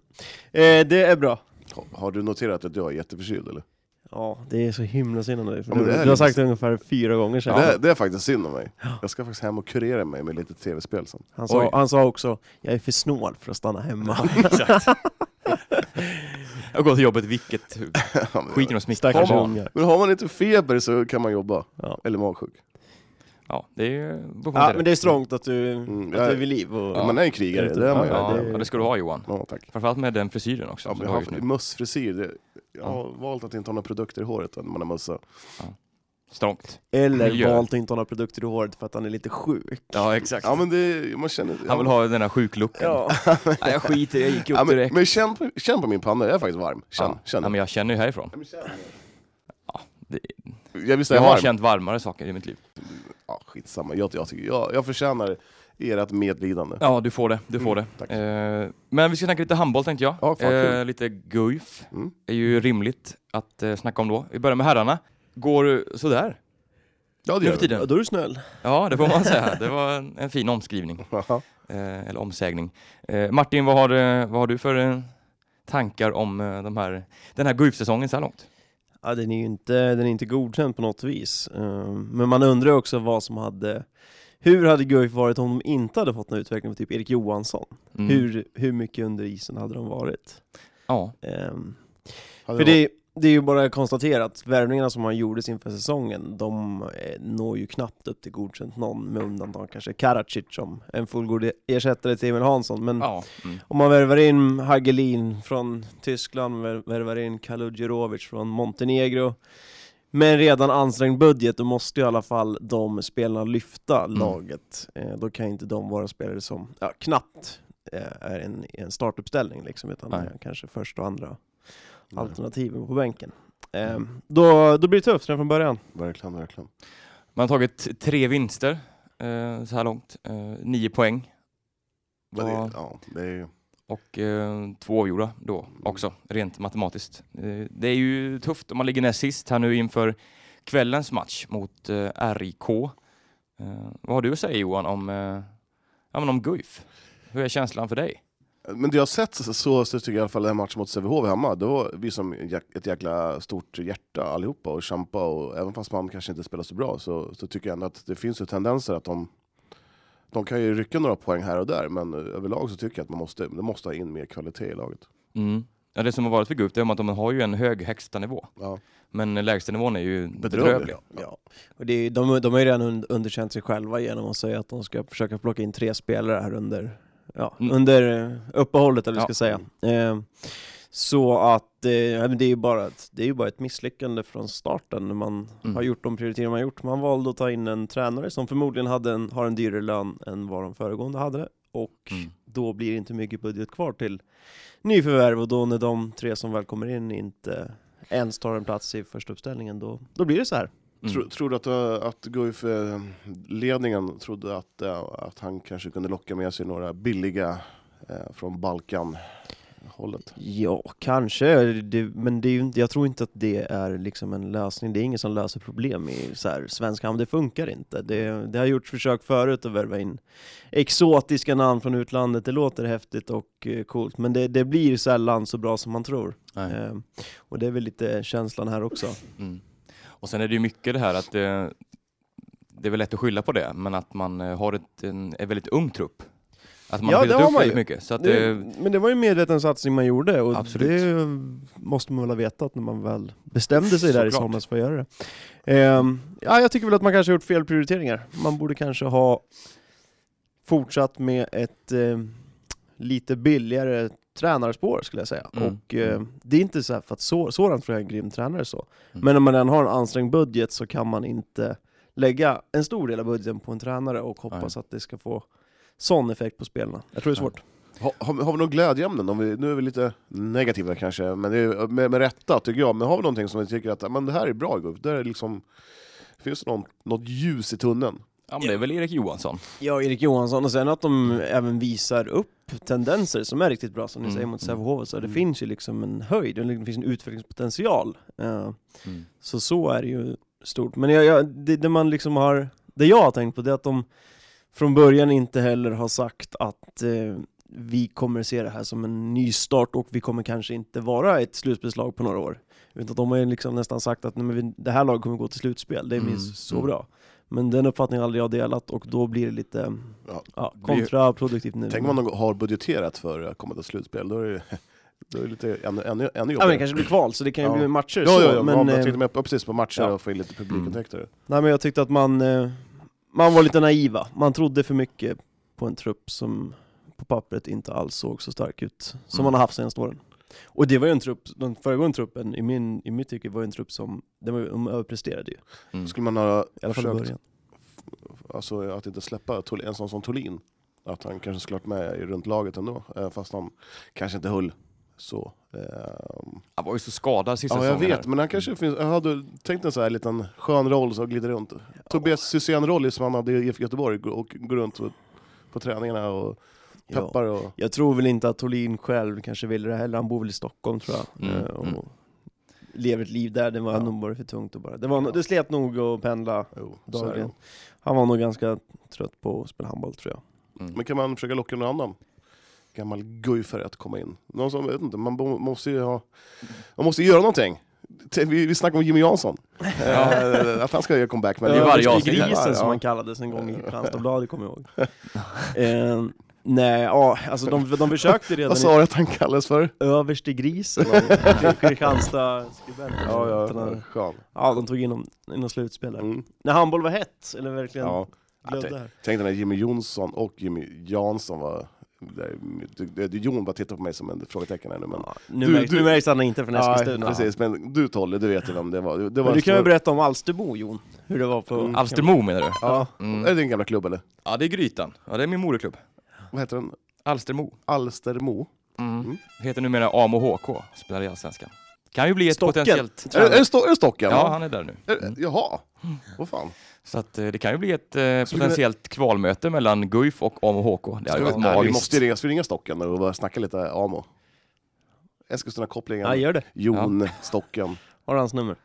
S5: Barner. Eh, det är bra.
S2: Ha- Har du noterat att jag är jätteförkyld eller?
S5: Ja, det är så himla synd om dig. för
S2: Ja, men
S5: du,
S2: det är
S5: du har
S2: lite
S5: sagt det ungefär fyra gånger sedan.
S2: Det, är- det är faktiskt synd om mig. Jag ska faktiskt hem och kurera mig med lite tv-spel sen.
S5: Han,
S1: Oj.
S5: sa, han sa också, jag är för snål för att stanna hemma.
S1: Jag går till jobbet vilket skiter i att smitta
S5: Stackars
S1: barn.
S5: ungar.
S2: Men har man inte feber så kan man jobba.
S5: Ja.
S2: Eller magsjuk.
S1: Ja, det är ju... beror på
S5: Ja,
S1: dig.
S5: men det är strongt att du,
S2: Mm,
S5: att
S2: jag-
S5: du är vid liv. Och,
S2: Man är ju krigare, det är man ju.
S5: Ja,
S1: Ja,
S5: det-
S1: ja, det ska du ha Johan.
S2: Ja, tack.
S1: Framförallt med den frisyren också.
S2: Ja,
S1: som
S2: men
S1: du
S2: jag
S1: har
S2: har
S1: just nu.
S2: haft mössfrisyr. Det- Jag har valt att inte ha några produkter i håret när man har mössa.
S1: Strångt.
S5: Eller
S1: Miljö.
S5: valt att inte ha några produkter i håret för att han är lite sjuk.
S1: Ja, exakt.
S2: Ja men det, man känner...
S1: Han vill ha den här sjuklooken. Nej, jag skiter jag gick upp
S2: ja, men,
S1: direkt.
S2: men känn, på- känn på min panna, jag är faktiskt varm. Känn,
S1: ja.
S2: känn.
S1: Ja, men jag känner ju härifrån. Det,
S2: jag visst är
S1: jag
S2: jag
S1: har
S2: varm?
S1: känt varmare saker i mitt liv.
S2: Ja, skitsamma, jag, jag, tycker, jag, jag förtjänar ert medlidande.
S1: Ja, du får det. Du får
S2: Mm, tack.
S1: det. Eh, men vi ska snacka lite handboll tänkte jag.
S2: Ja, fan, kul.
S1: Eh, lite guif
S2: Mm.
S1: är ju rimligt att eh, snacka om då. Vi börjar med herrarna. Går eh, sådär
S2: Ja, det
S1: nu
S2: gör
S1: för
S2: vi.
S5: Ja,
S1: tiden.
S5: då är du snäll.
S1: Ja, det får man säga. Det var en, en fin omskrivning.
S2: Jaha.
S1: Eh, eller omsägning. Eh, Martin, vad har, eh, vad har du för eh, tankar om eh, de här, den här guif-säsongen så här långt?
S5: Ja, den är ju inte, den är inte godkänd på något vis. Eh, Men man undrar ju också vad som hade... Hur hade Guif varit om de inte hade fått någon utveckling för typ Erik Johansson?
S1: Mm.
S5: Hur, hur mycket under isen hade de varit?
S1: Ja,
S5: Eh,
S2: Hade det...
S5: För det, det är ju bara konstaterat att värvningarna som han gjorde inför säsongen, de eh, når ju knappt upp till godkänt någon, med undantag kanske Karacic som en fullgod ersättare till Emil Hansson. Men
S1: Ja, mm.
S5: om man värvar in Hagelin från Tyskland, vär- värvar in Kaludjerovic från Montenegro, med en redan ansträngd budget, då måste ju i alla fall de spelarna lyfta laget. Eh, då kan ju inte de vara spelare som ja, knappt eh, är en, en startuppställning, liksom, utan
S1: Nej.
S5: är kanske första och andra alternativen på bänken. Ehm, då, då blir det tufft redan från början.
S2: Verkligen, verkligen.
S1: Man har tagit tre vinster eh, så här långt. Eh, nio poäng.
S2: Men det,
S1: Vad-
S2: ja, det är ju...
S1: Och eh, två oavgjorda då också, rent matematiskt. Eh, det är ju tufft om man ligger näst sist här nu inför kvällens match mot eh, RIK. Eh, vad har du att säga Johan om, eh, ja, men om Guif? Hur är känslan för dig?
S2: Men det jag har sett så, så, så tycker jag i alla fall den här matchen mot Sävehof hemma, det var vi som jäk- ett jäkla stort hjärta allihopa och kämpa och även fast man kanske inte spelar så bra så, så tycker jag ändå att det finns ju tendenser att de de kan ju rycka några poäng här och där, men eh, överlag så tycker jag att man måste, det måste ha in mer kvalitet i laget.
S1: Mm. Ja, det som har varit för Guif det är att de har ju en hög högsta nivå.
S2: Ja.
S1: Men lägstanivån är ju bedrövlig.
S2: Bedrövlig.
S5: Ja. Och det är, de, de har ju redan un- underkänt sig själva genom att säga att de ska försöka plocka in tre spelare här under, ja,
S1: Mm.
S5: under eh, uppehållet, eller vad
S1: Ja.
S5: jag ska säga. Ehm, så att eh, ja, men det är ju bara ett, det är ju bara ett misslyckande från starten när man
S1: Mm.
S5: har gjort de prioriteringar man har gjort. Man valde att ta in en tränare som förmodligen hade en, har en dyrare lön än vad de föregående hade och
S1: Mm.
S5: då blir det inte mycket budget kvar till nyförvärv och då när de tre som väl kommer in inte ens tar en plats i första uppställningen då, då blir det så här.
S1: Mm.
S2: Tro, tror du att, eh, att Guif-ledningen trodde att, eh, att han kanske kunde locka med sig några billiga eh, från Balkan-hållet?
S5: Ja, kanske. Det, men det är ju, inte- jag tror inte att det är liksom en lösning. Det är ingen som löser problem i så här, svensk hamn. Det funkar inte. Det, det har gjorts försök förut att värva in exotiska namn från utlandet. Det låter häftigt och eh, coolt, men det, det blir sällan så bra som man tror.
S1: Nej.
S5: Eh, och det är väl lite känslan här också.
S1: Mm. Och sen är det ju mycket det här att eh, det är väl lätt att skylla på det, men att man eh, har ett, en, en väldigt ung trupp. Att man
S5: Ja,
S1: har
S5: det
S1: fyllt
S5: har
S1: upp
S5: man
S1: väldigt
S5: ju.
S1: mycket. Så att, eh,
S5: Det, men det var ju en medveten satsning man gjorde och
S1: Absolut.
S5: det måste man väl ha vetat när man väl bestämde sig där i
S1: Såklart.
S5: somras för att göra det. Ehm, ja, jag tycker väl att man kanske har gjort fel prioriteringar. Man borde kanske ha fortsatt med ett eh, lite billigare tränarspår skulle jag säga.
S1: Mm.
S5: Och eh, det är inte så här för att så, sådant tror jag är en grym tränare så.
S1: Mm.
S5: Men om man redan har en ansträngd budget så kan man inte lägga en stor del av budgeten på en tränare och hoppas att det ska få sån effekt på spelarna. Jag tror det är
S1: Nej.
S5: svårt.
S2: Ha, har, vi- har vi några glädjeämnen? Om vi, nu är vi lite negativa kanske, men det är, med, med rätta tycker jag. Men har vi någonting som vi tycker att men det här är bra Guif? Det här är liksom, finns det någon, något ljus i tunneln?
S1: ja, men det är väl Erik Johansson.
S5: Ja, Erik Johansson och sen att de även visar upp tendenser som är riktigt bra som ni
S1: Mm.
S5: säger mot Sävehof. Så det
S2: Mm.
S5: finns ju liksom en höjd, och det finns en utvecklingspotential. Eh,
S1: Mm.
S5: Så så är det ju stort. Men jag, jag, det, det man liksom har, det jag har tänkt på det är att de från början inte heller har sagt att eh, vi kommer se det här som en nystart och vi kommer kanske inte vara ett slutspelslag på några år. Utan de har ju liksom nästan sagt att Nej, men vi, det här laget kommer gå till slutspel, det är
S1: Mm.
S5: minst så
S1: Mm.
S5: bra. Men den uppfattningen har aldrig jag delat och då blir det lite
S2: Ja.
S5: ja.
S1: blir ju-
S5: kontraproduktivt nu.
S2: Tänk om man har budgeterat för att komma till slutspel, då är det, då är det lite ännu, ännu, ännu
S5: Ja men det
S2: jobbigare.
S5: kanske blir kval, så det kan ju
S2: Ja.
S5: bli matcher
S2: Ja,
S5: så,
S2: ja, ja, men,
S5: men,
S2: ja, men jag
S5: eh,
S2: tänkte med på, precis på matcher
S5: ja. Mm.
S2: och få in lite publikintäkter.
S5: Nej men jag tyckte att man, eh, man var lite naiva. Man trodde för mycket på en trupp som på pappret inte alls såg så stark ut som
S1: Mm.
S5: man har haft senaste åren. Och det var ju en trupp, den föregående truppen i, min, i mitt tycke var ju en trupp som, den var, ju- de överpresterade ju.
S1: Mm.
S2: Skulle man ha
S5: I alla fall i
S2: försökt
S5: början.
S2: alltså, att inte släppa Thol- en sån som Tolin. Att han kanske skulle varit med i- runt laget ändå, eh, fast han kanske inte höll så. ehm,
S1: Han var ju så skadad sista
S2: Ja, jag
S1: säsongen.
S2: vet,
S1: här.
S2: men han kanske finns... Jag hade tänkt en så här liten skön roll som glider runt. Tobias Sysén-roll som han hade i IFK Göteborg gå- och går runt och, på träningarna och
S5: Ja.
S2: peppar och...
S5: Jag tror väl inte att Tolin själv kanske ville det heller, han bor väl i Stockholm tror jag.
S1: Mm,
S5: Eh, och
S1: mm.
S5: Lever ett liv där, det var nog bara för tungt att bara, det, var,
S2: Ja.
S5: det slet nog att pendla.
S2: Jo, så är det.
S5: Dagligen. Han var nog ganska trött på att spela handboll tror jag.
S1: Mm.
S2: Men kan man försöka locka någon annan gammal guifare att komma in? Någon som, vet inte, man bo- måste ju ha... Man måste ju göra någonting. T- Vi, vi snackade om Jimmy Jansson. Eh, att han ska göra comeback. Men
S1: det är varje
S5: Överste
S1: avsnitt här.
S5: grisen
S2: Ja.
S5: som han kallades en gång i Kristianstadsbladet, kommer jag ihåg. eh, Nej, ja, alltså de, de försökte redan
S2: Vad sa du att han kallades för?
S5: i Överstegrisen av Kristianstad-skribenten.
S2: Ja, ja, ja. skön.
S5: ja, de tog in honom i något slutspel där.
S2: Mm.
S5: När handboll var hett, eller verkligen
S2: Ja.
S5: blödde
S2: Ja, typ.
S5: här.
S2: Tänk den här Jimmy Jonsson och Jimmy Jansson var... där- du- du- Jon bara tittar på mig som en frågetecken här nu men...
S5: Ja, nu,
S2: Du-
S5: märks,
S2: du-
S5: nu märks han inte från
S2: Nej,
S5: Eskilstuna.
S2: precis, men du Tolle, du vet ju vem det var. Det, det var en
S5: Men du kan ju
S2: stor- Mm.
S5: berätta om Alsterbo, Jon. Hur det var på...
S1: Alstermo menar du?
S2: Ja.
S1: Mm.
S2: Är det din gamla klubb eller?
S1: Ja, det är Grytan. Ja, det är min moderklubb.
S2: Vad heter den?
S1: Alstermo.
S2: Alstermo?
S1: Mm. Heter numera AMO HK, spelar i Allsvenskan. Kan ju bli ett
S5: Stocken.
S1: potentiellt...
S2: Är, är, det Sto- är det Stocken?
S1: Ja, han är där nu.
S2: Är, det- jaha, vad fan.
S1: Så att, eh, det kan ju bli ett eh, potentiellt kvalmöte mellan Guif och AMO HK. Det hade
S2: Ska
S1: varit
S2: vi, nej, vi
S1: magiskt.
S2: måste ju ringa, ska vi ringa Stocken nu och börja snacka lite AMO? Eskilstuna-kopplingen.
S5: Ja, gör det.
S2: Jon, Stocken.
S5: Har du hans nummer?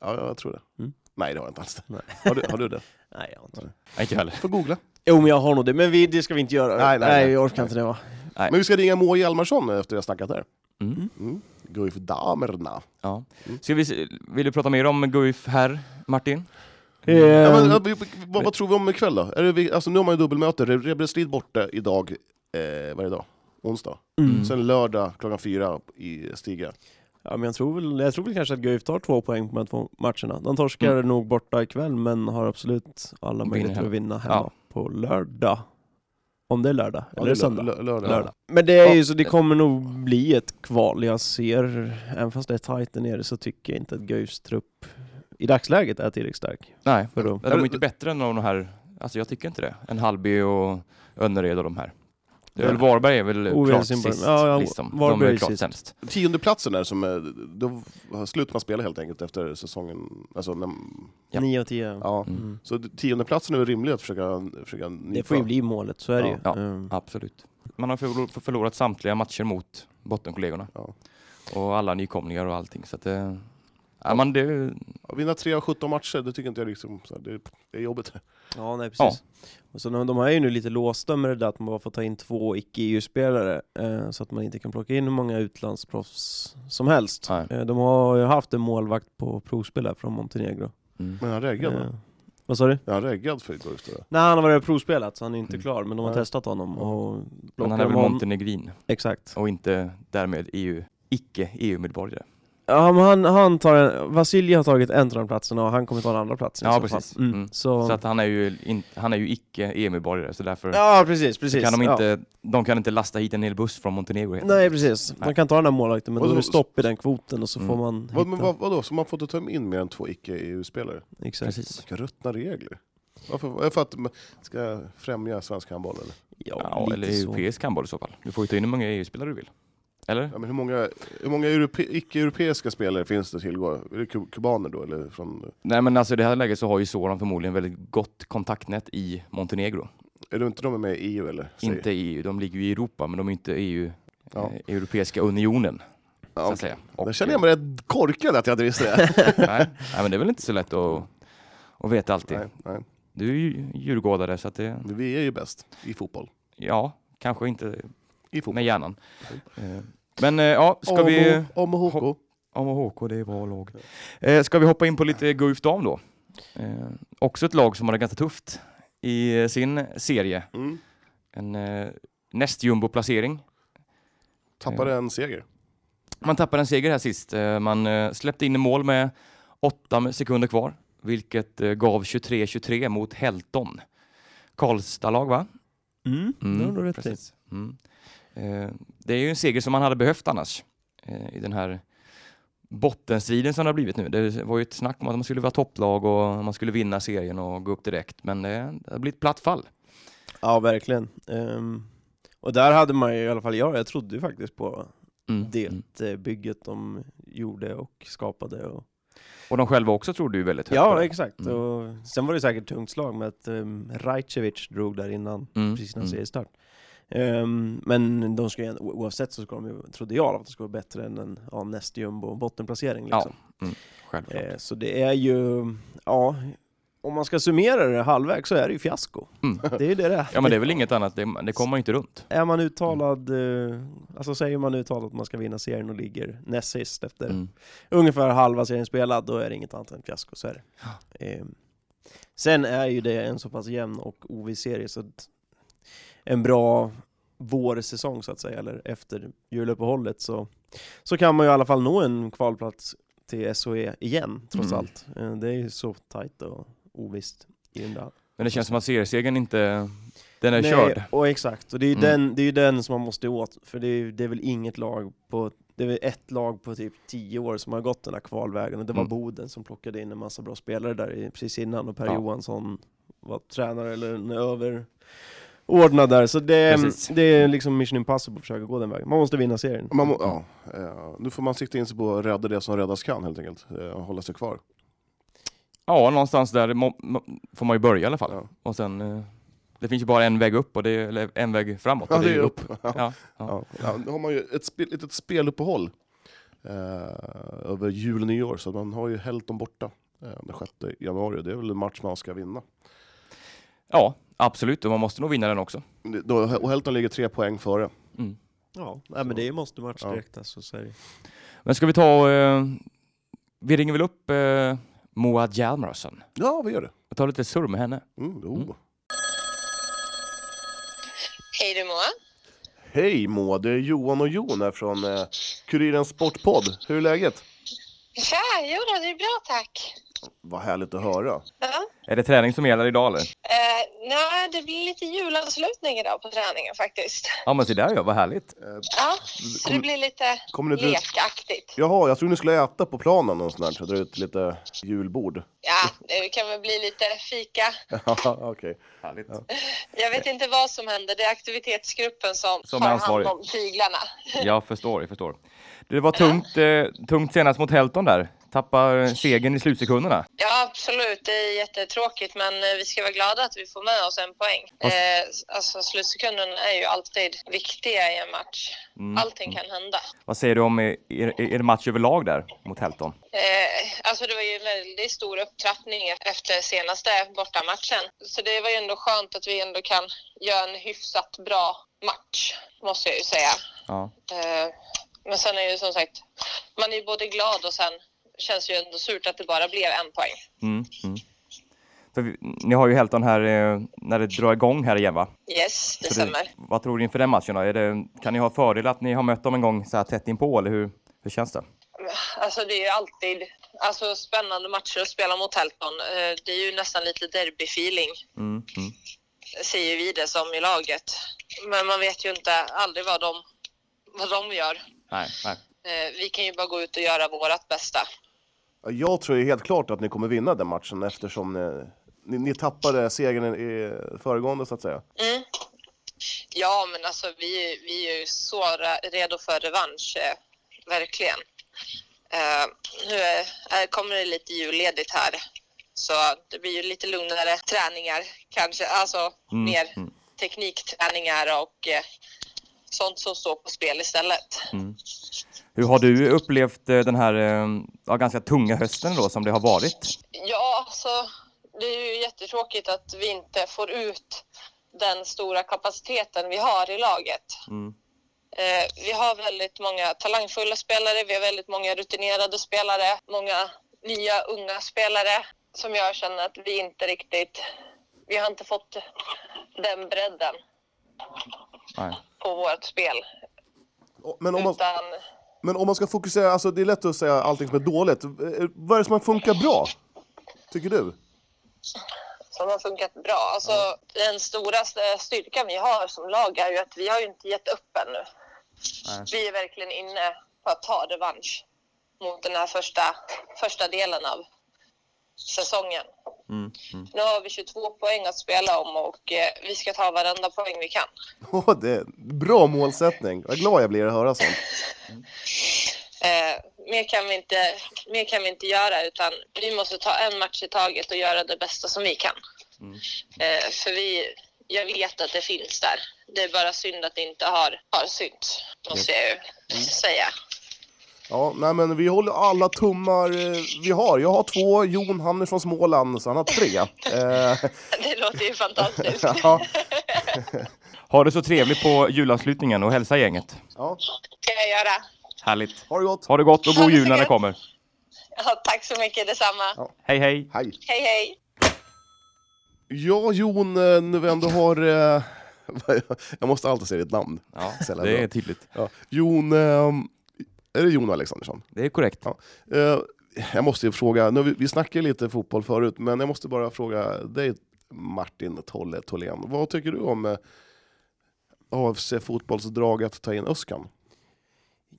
S2: Ja, jag tror det.
S5: Mm.
S2: Nej, det har jag inte alls.
S5: Nej.
S2: Har du, har du det?
S5: Nej, jag har inte.
S1: Nej, inte jag heller.
S2: får googla.
S5: Jo, men jag har nog det. Men vi, det ska vi inte göra.
S2: Nej, nej, nej.
S5: jag orkar inte det va.
S2: Men vi ska ringa Moa Hjalmarsson efter jag har snackat där.
S1: Mm.
S2: Mm. Guif
S5: Ehm.
S2: Damerna.
S1: Ja.
S5: Mm.
S1: Ska vi, se- vill du prata mer om Guif här, Martin?
S5: Eh.
S2: Ja,
S5: Ehm,
S2: men, ja, vi- vad, vad tror vi om ikväll då? Är det, vi- alltså, nu har man ju dubbelmöte. Re- Rebbestrid borta idag, eh, vad är det idag? Onsdag.
S5: mm.
S2: Sen lördag klockan fyra i Stiga.
S5: Ja, men jag, tror väl, jag tror väl kanske att Guif tar två poäng på de här två matcherna. De torskar nog borta ikväll, men har absolut alla möjligheter
S1: hemma.
S5: att vinna hemma på lördag. Om det är lördag,
S2: Ja,
S5: eller
S2: det är lö-
S5: söndag.
S2: lö- lördag.
S5: lördag. Men det är ju
S1: Ja.
S5: så, det kommer nog bli ett kval. Jag ser, även fast det är tajt där nere, så tycker jag inte att Guifs trupp i dagsläget är tillräckligt stark.
S1: Nej,
S5: För dem.
S1: de är inte bättre än de här. Alltså jag tycker inte det. En Hallby och Önnered och de här. Det är väl Varberg är väl
S5: Oh,
S1: klart
S5: Helsingborg.
S1: sist.
S5: Ja, ja,
S1: liksom.
S5: Varberg
S1: de
S5: är
S1: är klart
S5: sist.
S1: sämst.
S2: Tiondeplatsen där som, eh, då slutar man spela helt enkelt efter säsongen. Alltså, när,
S1: Ja.
S5: 9 av 10.
S2: ja.
S5: Mm.
S2: Så tiondeplatsen är väl rimlig att försöka, försöka
S5: Det får ju bli målet, så är det ju.
S1: Ja.
S5: Mm.
S1: Absolut. Man har förlor- förlorat samtliga matcher mot bottenkollegorna.
S2: Ja.
S1: Och alla nykomlingar och allting. Så att det, ja, man, det,
S2: Ja, vinna tre av 17 matcher, det tycker inte jag liksom, så här, det, det är jobbigt.
S5: Ja, nej precis. Och så de, de är ju nu lite låsta med det där att man bara får ta in två icke-EU-spelare eh, så att man inte kan plocka in hur många utlandsproffs som helst.
S1: nej.
S5: Eh, de har ju haft en målvakt på provspel här från Montenegro.
S1: Mm.
S2: Men han reggad va?
S5: Eh, vad sa du?
S2: Är han reggad för Guif då?
S5: Nej, han har varit provspelat så han är inte
S1: Mm.
S5: klar, men de har
S2: Nej.
S5: testat honom och
S1: Men han
S5: plockar
S1: är väl
S5: honom.
S1: montenegrin
S5: Exakt.
S1: och inte därmed EU, icke E EU-medborgare.
S5: Ja, men han, han tar en, Vasilj har tagit en av de platserna och han kommer ta den andra platsen i
S1: Ja,
S5: så
S1: precis.
S5: fall. Mm.
S1: Mm.
S5: Så,
S1: Så att han är ju, in, han är ju icke EU-medborgare så därför
S5: ja, precis, precis.
S1: kan de
S5: Ja.
S1: inte, de kan inte lasta hit en hel buss från Montenegro. helt
S5: Nej
S1: enkelt.
S5: precis, man
S1: Nej. Mm.
S5: kan ta den här målvakten men
S2: Och
S5: då är
S2: då-
S5: det stopp i den kvoten och så får man hitta.
S2: Vad, men vad, vadå, så man får inte ta in mer än två icke-EU-spelare?
S5: Exakt.
S1: Precis.
S2: Vilka ruttna regler. Varför? Är det för att man ska främja svensk handboll eller?
S5: Ja,
S1: Ja,
S5: lite
S1: eller
S5: så.
S1: europeisk handboll i så fall. Du får ju ta in hur många EU-spelare du vill. Eller?
S2: Ja, men hur många, hur många europe, icke-europeiska spelare finns det tillgå? Är det ku- kubaner då eller? Från,
S1: Nej men alltså i det här läget så har ju Soran förmodligen väldigt gott kontaktnät i Montenegro.
S2: är det inte de med i EU eller? Säg.
S1: Inte i EU, de ligger ju i Europa men de är inte EU,
S2: Ja.
S1: eh, Europeiska Unionen.
S2: Ja,
S1: Så
S2: okej.
S1: att säga. Och,
S2: Där känner jag mig rätt korkad att jag inte visste det.
S1: eh, nej, nej men det är väl inte så lätt att, att veta alltid.
S2: nej, nej.
S1: Du är ju djurgårdare så att det,
S2: Men Vi är ju bäst i fotboll.
S1: ja, kanske inte
S2: I fotboll.
S1: med hjärnan. Eh, Men eh, ja, ska vi...
S2: Om och HK.
S1: Hopp- AMO HK, det är bra lag. Eh, ska vi hoppa in på lite Guif Dam då? Eh, också ett lag som har det ganska tufft i eh, sin serie.
S2: Mm.
S1: En eh, näst jumbo-placering.
S2: Tappade en seger.
S1: Man tappade en seger här sist. Eh, man eh, släppte in i mål med åtta sekunder kvar, vilket eh, gav 23-23 mot Helton. Karlstad-lag va?
S5: Mm, det har du rätt i.
S1: precis. Mm. Eh, det är ju en seger som man hade behövt annars eh, i den här bottenstriden som det har blivit nu. Det var ju ett snack om att man skulle vara topplag och man skulle vinna serien och gå upp direkt, men det, det har blivit platt fall.
S5: Ja, verkligen. Ehm, och där hade man ju i alla fall, jag, jag trodde ju faktiskt på
S1: Mm. Mm.
S5: det eh, bygget de gjorde och skapade. Och...
S1: Och de själva också trodde ju väldigt högt på
S5: Ja,
S1: det.
S5: exakt.
S1: Mm.
S5: Och sen var det säkert tungt slag med att um, Rajcevic drog där innan,
S1: Mm,
S5: precis innan
S1: mm.
S5: seriestart. Ehm, men de ska, ju ändå- oavsett så ska de ju, trodde jag i alla fall, att de skulle vara bättre än en ja, näst jumbo bottenplacering. Liksom.
S1: Ja, mm, självklart.
S5: Eh, Så det är ju, ja, om man ska summera det halvvägs så är det ju fiasko.
S1: Mm.
S5: Det är ju det det är.
S1: Ja men det är väl inget annat, det, det kommer man ju inte runt.
S5: Är man uttalad, eh, alltså säger man uttalat att man ska vinna serien och ligger näst sist efter
S1: Mm.
S5: ungefär halva serien spelad, då är det inget annat än ett fiasko, så är det. Eh, Sen är ju det en så pass jämn och oviss serie så att en bra vår säsong så att säga, eller efter juluppehållet, så, så kan man ju i alla fall nå en kvalplats till SOE igen, trots
S1: Mm.
S5: allt. Eh, Det är ju så tajt och ovisst i den där
S1: Men det känns som att seriesegern inte... Den är
S5: Nej,
S1: körd.
S5: Och exakt, och det är ju
S1: Mm.
S5: den, det är ju den som man måste åt, för det är, ju- det är väl inget lag på, det är väl ett lag på typ tio år som har gått den här kvalvägen, och det var
S1: Mm.
S5: Boden som plockade in en massa bra spelare där i- precis innan, och Per
S1: Ja.
S5: Johansson var tränare eller en överordnad där, så det,
S1: Precis.
S5: det är liksom mission impossible att försöka gå den vägen. Man måste vinna serien.
S2: Man må, ja, eh, nu får man sikta in sig på att rädda det som räddas kan helt enkelt. Eh, och hålla sig kvar.
S1: Ja, någonstans där må, må, får man ju börja i alla fall.
S2: Ja.
S1: Och sen... eh, Det finns ju bara en väg upp, och det är, eller en väg framåt.
S2: Ja,
S1: och
S2: det är upp.
S1: Ja, ja.
S2: Ja. Ja, nu har man ju ett spel, litet speluppehåll eh, över jul och nyår, så man har ju Helton borta eh, den 6 januari. Det är väl en match man ska vinna.
S1: Ja, absolut. Och man måste nog vinna den också.
S2: Det- då- Och Helton ligger tre poäng före.
S1: Mm.
S5: Ja, nej, men det är måste match
S2: Ja.
S5: direkt alltså. Så är det.
S1: Men ska vi ta... och, Eh, vi ringer väl upp eh, Moa Hjalmarsson
S2: Ja, vi gör det.
S1: och tar lite surr med henne.
S2: Mm, jo.
S1: Mm.
S6: Hej du Moa.
S2: Hej Moa, det är Johan och Jon här från eh, Kurirens Sportpodd. Hur är läget?
S6: Tja, jo då, det är bra tack.
S2: Vad härligt att höra.
S6: Ja.
S1: Är det träning som gäller idag eller?
S6: Eh, nej, det blir lite julavslutning idag på träningen faktiskt.
S1: Ja men se där ja, vad härligt.
S6: Ja, så det blir lite
S2: Kommer ni ut?
S6: lekaktigt.
S2: Jaha, jag tror ni skulle äta på planen och sånt där, så dra ut lite julbord.
S6: Ja, det kan väl bli lite fika.
S2: Okej.
S1: härligt. Ja.
S6: Jag vet inte vad som händer. Det är aktivitetsgruppen som,
S1: Som är
S6: tar
S1: ansvarig.
S6: hand om tyglarna.
S1: Jag förstår, jag förstår. Det var tungt, eh, tungt senast mot Helton där. Tappar segern i slutsekunderna.
S6: Ja, absolut. Det är jättetråkigt, men eh, vi ska vara glada att vi får med oss en poäng.
S1: Fast-
S6: Eh, alltså, slutsekunderna är ju alltid viktiga i en match.
S1: Mm.
S6: Allting kan hända.
S1: Vad säger du om er, er, er match överlag där mot Helton?
S6: Eh, alltså det var ju en väldigt stor upptrappning efter senaste bortamatchen. Så det var ju ändå skönt att vi ändå kan göra en hyfsat bra match, måste jag ju säga.
S1: Ja.
S6: Eh, men sen är ju som sagt, man är ju både glad och sen känns det ju ändå surt att det bara blev en poäng.
S1: Mm, mm. För vi, ni har ju Helton här eh, när det drar igång här igen va?
S6: Yes, det
S1: Så det-
S6: stämmer.
S1: Vad tror du inför den matchen då? Är det, kan ni ha fördel att ni har mött dem en gång så här tätt inpå eller hur, hur känns det?
S6: Alltså det är ju alltid alltså, spännande matcher att spela mot Helton. Eh, det är ju nästan lite derbyfeeling.
S1: Mm, mm.
S6: ser ju vi det som i laget. Men man vet ju inte aldrig vad de, vad de gör.
S1: Nej, nej.
S6: Eh, vi kan ju bara gå ut och göra vårt bästa.
S2: Ja, Jag tror ju helt klart att ni kommer vinna den matchen eftersom ni, ni, ni tappade segern i- i föregående så att säga.
S6: Mm. Ja, men alltså vi, vi är ju så re- redo för revansch, eh, verkligen. Eh, nu är, är, kommer det lite julledigt här, så det blir ju lite lugnare träningar kanske. Alltså
S1: Mm,
S6: mer
S1: mm.
S6: teknikträningar och eh, sånt som står på spel istället.
S1: Hur har du upplevt eh, den här eh, ja, ganska tunga hösten då som det har varit?
S6: Ja, alltså, det är ju jättetråkigt att vi inte får ut den stora kapaciteten vi har i laget.
S1: Mm.
S6: Eh, vi har väldigt många talangfulla spelare, vi har väldigt många rutinerade spelare, många nya unga spelare som jag känner att vi inte riktigt, vi har inte fått den bredden
S1: Nej.
S6: på vårt spel.
S2: Och- Men om, man,
S6: Utan,
S2: men om man ska fokusera, alltså det är lätt att säga allting som är dåligt. Eh, Vad är det som funkar bra? Tycker du?
S6: som har funkat bra. Alltså, Den stora styrkan vi har som lag är ju att vi har ju inte gett upp ännu.
S1: Nej.
S6: Vi är verkligen inne på att ta revansch mot den här första, första delen av säsongen.
S1: Mm, mm.
S6: Nu har vi 22 poäng att spela om och eh, vi ska ta varenda poäng vi kan.
S2: Åh, det är bra målsättning. Vad glad jag blir att höra sånt.
S6: Eh, mer, kan vi inte, mer kan vi inte göra utan vi måste ta en match i taget och göra det bästa som vi kan.
S1: Mm.
S6: Eh, för vi, jag vet att det finns där. Det är bara synd att det inte har, har synts, måste jag ju säga.
S2: Ja, nej men vi håller alla tummar eh, vi har. Jag har två, Jon han är från Småland så han har tre. Eh,
S6: Det låter ju fantastiskt.
S2: ja,
S1: Ha det så trevligt på julavslutningen och hälsa gänget.
S2: ja,
S6: ska jag göra.
S1: Härligt.
S2: ha det gott.
S1: Ha det gott och
S6: Ha
S1: god
S6: det så
S1: jul när det
S6: gött.
S1: kommer.
S6: Ja, tack så mycket, detsamma.
S2: Ja.
S1: Hej hej.
S2: Hej.
S6: Hej, hej!
S2: Ja, Jon, eh, när vi ändå har eh, Jag måste alltid säga ditt namn.
S1: Ja,
S2: Så jävla
S1: det
S2: bra.
S1: är tydligt.
S2: Ja. Jon... ehm, Är det Jon Alexandersson?
S1: Det är korrekt.
S2: Eh, Jag måste ju fråga, nu, vi- vi snackade lite fotboll förut, men jag måste bara fråga dig Martin Tolle Tholén. Vad tycker du om eh, AFC fotbollsdrag att ta in Öskan?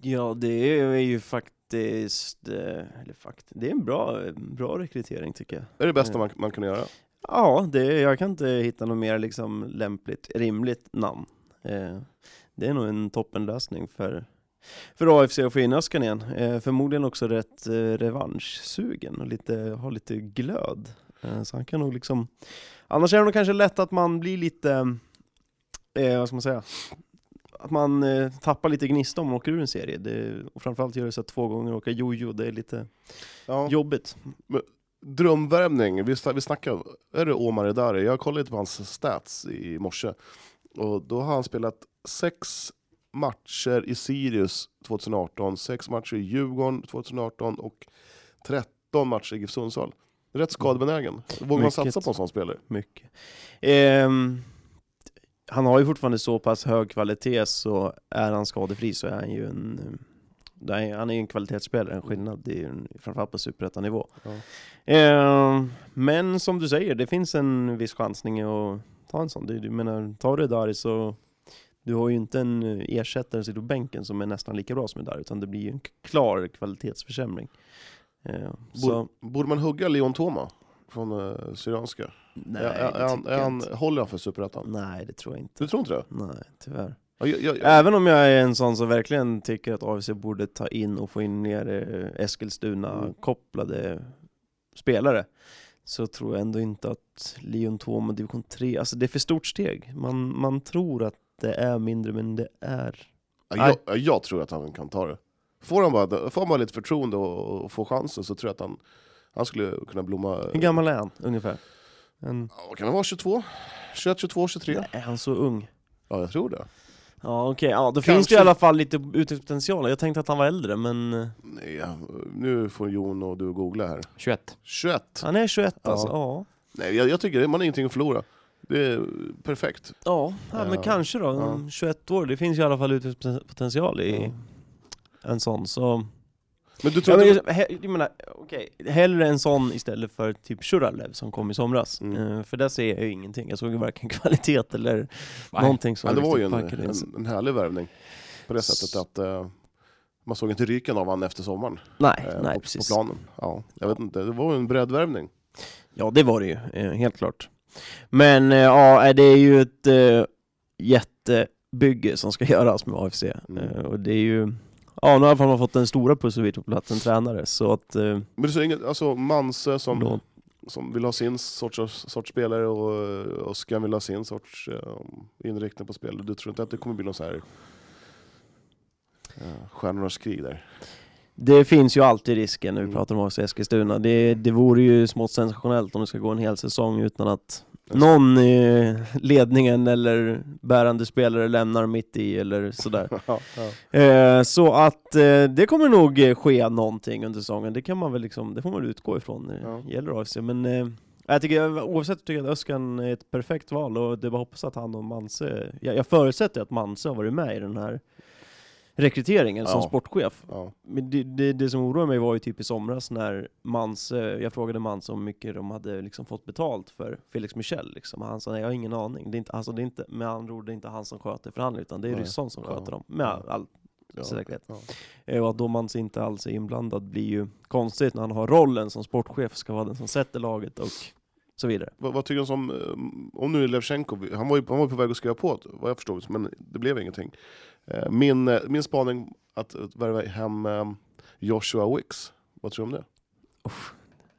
S5: Ja, det är ju faktiskt, eh, eller fakt, det är en bra, bra rekrytering tycker jag.
S2: Det är det bästa man, man kan göra.
S5: Ja, det, jag kan inte hitta något mer liksom lämpligt, rimligt namn. Eh, det är nog en toppenlösning för, för AFC att få in Öskan igen. Eh, förmodligen också rätt eh, revanschsugen och lite, har lite glöd. Eh, så han kan nog liksom, annars är det nog kanske lätt att man blir lite, eh, vad ska man säga, att man eh, tappar lite gnista om man åker ur en serie. Det, och framförallt gör det så att två gånger åka jojo, det är lite
S2: Ja.
S5: jobbigt.
S2: Drömvärvning, vi, sna- vi snackade, är det Omar Edari? Jag kollade lite på hans stats i morse. Och då har han spelat sex matcher i Sirius 2018, sex matcher i Djurgården 2018 och 13 matcher i GIF Sundsvall. Rätt skadebenägen. Vågar man
S5: Mycket.
S2: satsa på en sån spelare?
S5: mycket. Ehm, han har ju fortfarande så pass hög kvalitet så är han skadefri så är han ju en eh, då är- han är ju en kvalitetsspelare, en skillnad, det är ju en, framförallt på superettanivå.
S2: Ja.
S5: Ehm, men som du säger, det finns en viss chansning att ta en sån. Du, du menar, tar du Dari så, du har ju inte en ersättare som sitter på bänken som är nästan lika bra som Dari, utan det blir ju en klar kvalitetsförsämring. Ehm, så,
S2: Borde man hugga Leon Toma från eh, Syrianska?
S5: nej,
S2: är, är,
S5: det
S2: han,
S5: tycker jag
S2: är han,
S5: inte.
S2: håller han för Superettan?
S5: nej, det tror jag inte.
S2: Du tror inte det?
S5: Nej, tyvärr.
S2: Ja, Jag, jag,
S5: Även om jag är en sån som verkligen tycker att AFC borde ta in och få in mer eh, Eskilstuna-kopplade spelare, så tror jag ändå inte att Leon Tom och division 3, alltså det är för stort steg. Man, man tror att det är mindre, men det är...
S2: jag, jag, jag tror att han kan ta det. Får han bara, får han bara lite förtroende och, och får chansen så tror jag att han, han skulle kunna blomma.
S5: Hur gammal är han ungefär? En...
S2: Ja, kan han vara 22? 21, 22, 23?
S5: Är han så ung?
S2: Ja, jag tror det.
S5: Ja okej, ja, då finns
S2: Kanske.
S5: det i alla fall lite utvecklingspotential. Jag tänkte att han var äldre, men eh,
S2: Nej, ja, nu får Jon och du googla här.
S1: 21.
S2: 21?
S5: han är 21
S2: Ja.
S5: alltså. Ja.
S2: Nej, jag, jag tycker det, man har ingenting att förlora. Det är perfekt.
S5: Ja, ja men
S2: Eh,
S5: kanske då.
S2: ja.
S5: Om 21 år, det finns ju i alla fall utvecklingspotential i en sån. Så...
S2: Men du
S5: Ja,
S2: tror
S5: men,
S2: inte...
S5: jag, he- jag menar, okej, hellre en sån istället för typ Shuralev som kom i somras.
S2: Mm.
S5: Eh, för där ser jag ju ingenting. Jag såg ju varken kvalitet eller
S1: Nej.
S5: någonting som
S2: Ja, det var ju en,
S5: riktigt packade in sig.
S2: en, en härlig värvning. På det sättet att eh, man såg inte ryken av honom efter sommaren.
S5: Nej,
S2: eh,
S5: nej
S2: på, på
S5: precis.
S2: planen. Ja, jag vet inte, det var ju en breddvärvning.
S5: Ja, det var det ju, eh, helt klart. Men eh, ja, eh, det är ju ett eh, jättebygge som ska göras med AFC.
S2: Mm.
S5: Eh, och det är ju, ja nu har man fått den stora pusselbiten på plats, en tränare. Så att, eh,
S2: Men du säger inget, alltså Manse som,
S5: då,
S2: som vill ha sin sorts, sorts spelare och eh, Oskar vill ha sin sorts eh, inriktning på spel. Du tror inte att det kommer bli någon så här eh, stjärnornas krig där?
S5: det finns ju alltid risken när vi
S2: Mm.
S5: pratar om AFC Eskilstuna. Det, det vore ju smått sensationellt om det ska gå en hel säsong utan att
S2: Alltså.
S5: någon i ledningen eller bärande spelare lämnar mitt i eller sådär.
S2: ja, ja.
S5: Eh, så att eh, det kommer nog eh, ske någonting under säsongen, det kan man väl liksom, det får man väl utgå ifrån när det
S2: Ja.
S5: gäller AFC. Men eh, jag tycker, oavsett tycker jag att Öskan är ett perfekt val och det är bara att hoppas att han och Manse, jag, jag förutsätter att Manse har varit med i den här rekryteringen som
S2: Ja.
S5: sportchef.
S2: Ja.
S5: Men det, det, det som oroade mig var ju typ i somras när Mans, eh, jag frågade Mans om hur mycket de hade liksom fått betalt för Felix Michel. Liksom. Och Han sa nej, jag har ingen aning. Det är inte, alltså, det är inte, med andra ord, det är inte han som sköter förhandlingen utan det är
S2: Nej.
S5: Ryssson som
S2: Ja.
S5: sköter dem. Med all, all
S2: Ja.
S5: säkerhet.
S2: Ja.
S5: Eh, Och att då Mans inte alls är inblandad blir ju konstigt när han har rollen som sportchef, ska vara den som sätter laget och så vidare.
S2: Vad, vad tycker du om, eh, om nu Levchenko, han var ju han var ju på väg att skriva på vad jag förstod, men det blev ingenting. Eh, Min, eh, min spaning att, att värva hem eh, Joshua Wicks, vad tror du om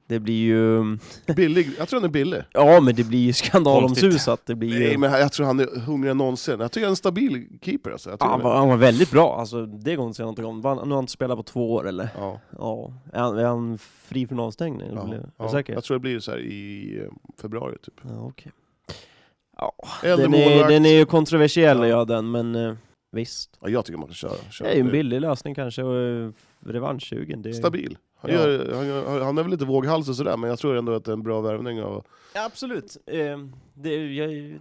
S5: Det blir ju,
S2: det? Billig, jag tror han är billig.
S5: ja men det blir ju skandalomsusat. Det blir
S2: Nej,
S5: ju,
S2: men jag tror han är hungrigare än någonsin. Jag tycker han är en stabil keeper. Alltså. Jag
S5: Ja,
S2: tror
S5: han,
S2: det.
S5: var, han var väldigt bra, alltså, det går inte att säga någonting om. Vann- Nu har han inte spelat på två år eller?
S2: ja,
S5: Ja, är han, är han fri från avstängning?
S2: ja,
S5: Eller- är du
S2: ja.
S5: säker?
S2: Jag tror det blir så här i eh, februari typ.
S5: Ja, okej.
S2: Äldre
S5: Ah, Den, är,
S2: målvakt.
S5: den är ju kontroversiell
S2: Ja.
S5: ja, den, men eh, visst.
S2: Ja, jag tycker man kan köra. köra.
S5: Det är ju en billig lösning kanske, och eh, revanschsugen. Det är...
S2: Stabil. Han,
S5: Ja.
S2: gör, han, gör, han är väl lite våghals och sådär, men jag tror ändå att det är en bra värvning. Av,
S5: Ehm, Ja, absolut. Eh, det, är- jag,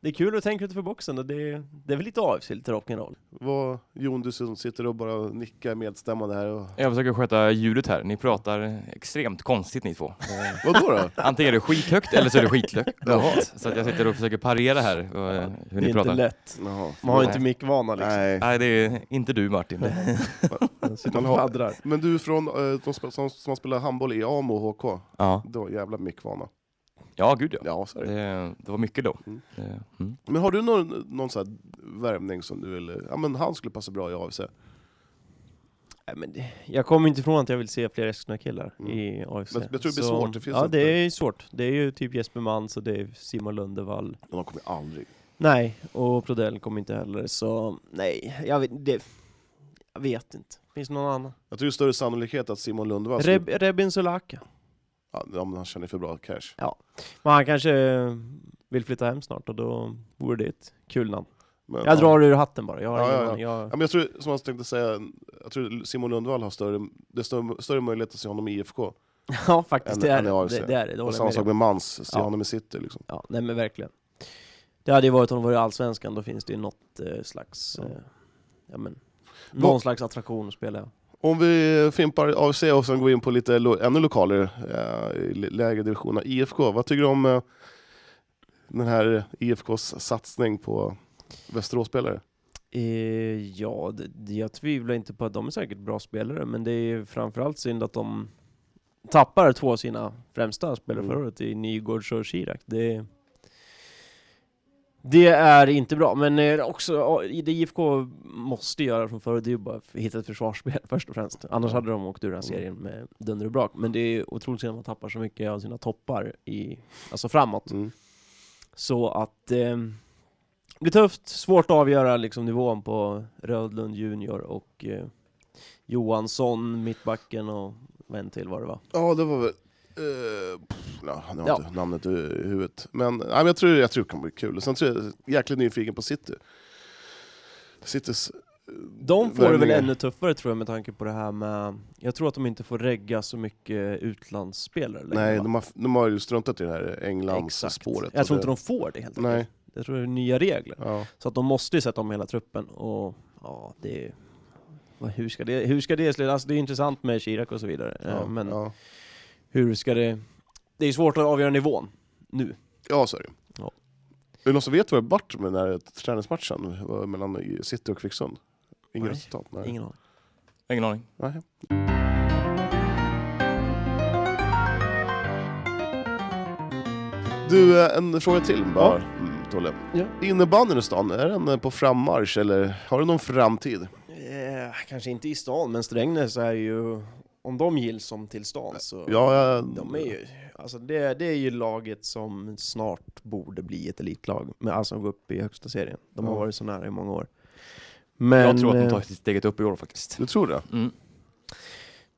S5: det är kul att tänka utanför boxen och det, det är väl lite AFC, lite rock'n'roll.
S2: Vad, Jon, du som sitter och bara nickar medstämmande här. Och...
S1: Jag försöker sköta ljudet här. Ni pratar extremt konstigt ni två. Eh,
S2: Vadå då?
S1: Antingen är det skithögt eller så är det skitlågt. Så att jag sitter och försöker parera här eh, hur
S5: det är
S1: ni pratar.
S5: inte lätt.
S2: Jaha.
S5: Man har ju
S1: Nej.
S5: inte mickvana liksom.
S2: Nej.
S1: Nej, det är inte du Martin.
S5: Man sitter
S2: Man
S5: och
S2: har-
S5: faddrar.
S2: Men du från, eh, de sp- som, som spelar handboll i AMO och HK,
S1: Ja,
S2: då jävla mickvana.
S1: ja gud ja.
S2: Ja, så är det.
S1: Det, det var mycket då.
S2: Mm.
S1: Eh, Mm.
S2: Men har du någon, någon sån här värvning som du vill, ja men han skulle passa bra i AFC?
S5: Nej, men det, jag kommer inte ifrån att jag vill se fler Eskilstuna-killar
S2: Mm.
S5: i AFC.
S2: Men jag tror det blir
S5: Så-
S2: svårt, det finns
S5: Ja,
S2: inte-
S5: det är ju svårt. Det är ju typ Jesper Mans och det är Simon Lundevall.
S2: Men de kommer aldrig.
S5: Nej, och Prodell kommer inte heller, så nej, jag vet, det, jag vet inte. Finns det någon annan?
S2: Jag tror det är större sannolikhet att Simon Lundvall skulle-
S5: Reb, Rebin Solaka.
S2: ja, ja, men han tjänar ju för bra cash.
S5: Men han kanske eh, vill flytta hem snart och då vore det ett kul namn.
S2: Men,
S5: Jag drar ur hatten bara, jag har
S2: Ja,
S5: ingen
S2: ja, ja.
S5: aning.
S2: Ja,
S5: Jag,
S2: men jag tror, som jag tänkte säga, jag tror Simon Lundvall har större, det är större, större möjlighet att se honom i IFK.
S5: ja, faktiskt,
S2: En-
S5: det är
S2: en i
S5: det.
S2: AFC.
S5: Det, det är det,
S2: Och
S5: det håller
S2: samma
S5: jag
S2: sak
S5: med om.
S2: med Mans, se
S5: Ja.
S2: honom i city liksom.
S5: Ja, nej men verkligen. Det hade ju varit om det var i Allsvenskan, då finns det ju något eh, slags,
S2: Ja.
S5: eh, ja men,
S2: Vad-
S5: någon slags attraktion att spela.
S2: Om vi fimpar AFC och sen går in på lite lo- ännu lokaler eh, i l- lägre divisionerna. IFK, vad tycker du om eh, den här IFKs satsning på Västeråsspelare?
S5: Eh, ja, det, det- jag tvivlar inte på att de är säkert bra spelare, men det är framförallt synd att de tappar två av sina främsta spelare
S2: Mm.
S5: förra året i Nygårds och Chirac. Det, det är inte bra, men eh, också ja, i det IFK måste göra från förut, det är ju bara att hitta ett försvarsspel först och främst. Annars hade de åkt ur den här serien med dunder och brak. Men det är otroligt synd att man tappar så mycket av sina toppar i, alltså framåt.
S2: Mm.
S5: Så att eh, det blir tufft, svårt att avgöra liksom, nivån på Rödlund junior och eh, Johansson, mittbacken och vad en till var det va?
S2: Ja, det var väl... Uh, pff, ja, nu har
S5: Ja.
S2: jag inte namnet i i huvudet. Men, nej, men jag, tror, jag tror det kommer bli kul. Och Sen tror jag, jag är jäkligt nyfiken på City. Citys... eh,
S5: De får det väl
S2: värvningar.
S5: ännu tuffare tror jag med tanke på det här med, jag tror att de inte får regga så mycket utlandsspelare längre,
S2: Nej,
S5: va?
S2: de har, de har ju struntat i det här Englandsspåret.
S5: Jag tror
S2: och
S5: inte de Eh, får det helt
S2: det. Nej.
S5: enkelt. Jag tror det är nya regler.
S2: Ja.
S5: Så att de måste ju sätta om hela truppen och ja, det är... vad- Hur ska det, hur ska det sluta? Alltså det är intressant med Chirac och så vidare, eh,
S2: Ja,
S5: men
S2: ja.
S5: hur ska det... Det är svårt att avgöra nivån nu.
S2: ja, så är det
S5: Ja.
S2: Är det någon som vet vad det vart med den här träningsmatchen Det var mellan City och Kvicksund? Inget
S5: Nej.
S2: resultat? Nej.
S5: Ingen aning.
S1: Ingen aning.
S2: Nej. Du, eh, en fråga till bara, mm, Tolle.
S5: Ja.
S2: Innebandyn i stan, är den eh, på frammarsch eller har den någon framtid?
S5: Eh, kanske inte i stan, men Strängnäs är ju... Om de gills som till stan så...
S2: Ja, eh, jag,
S5: De är ju, alltså det, det är ju laget som snart borde bli ett elitlag, men alltså gå upp i högsta serien. De har
S2: Ja.
S5: varit så nära i många år. Men,
S1: jag tror att de
S5: eh,
S1: tar steget upp i år faktiskt.
S2: Du tror det?
S1: Mm.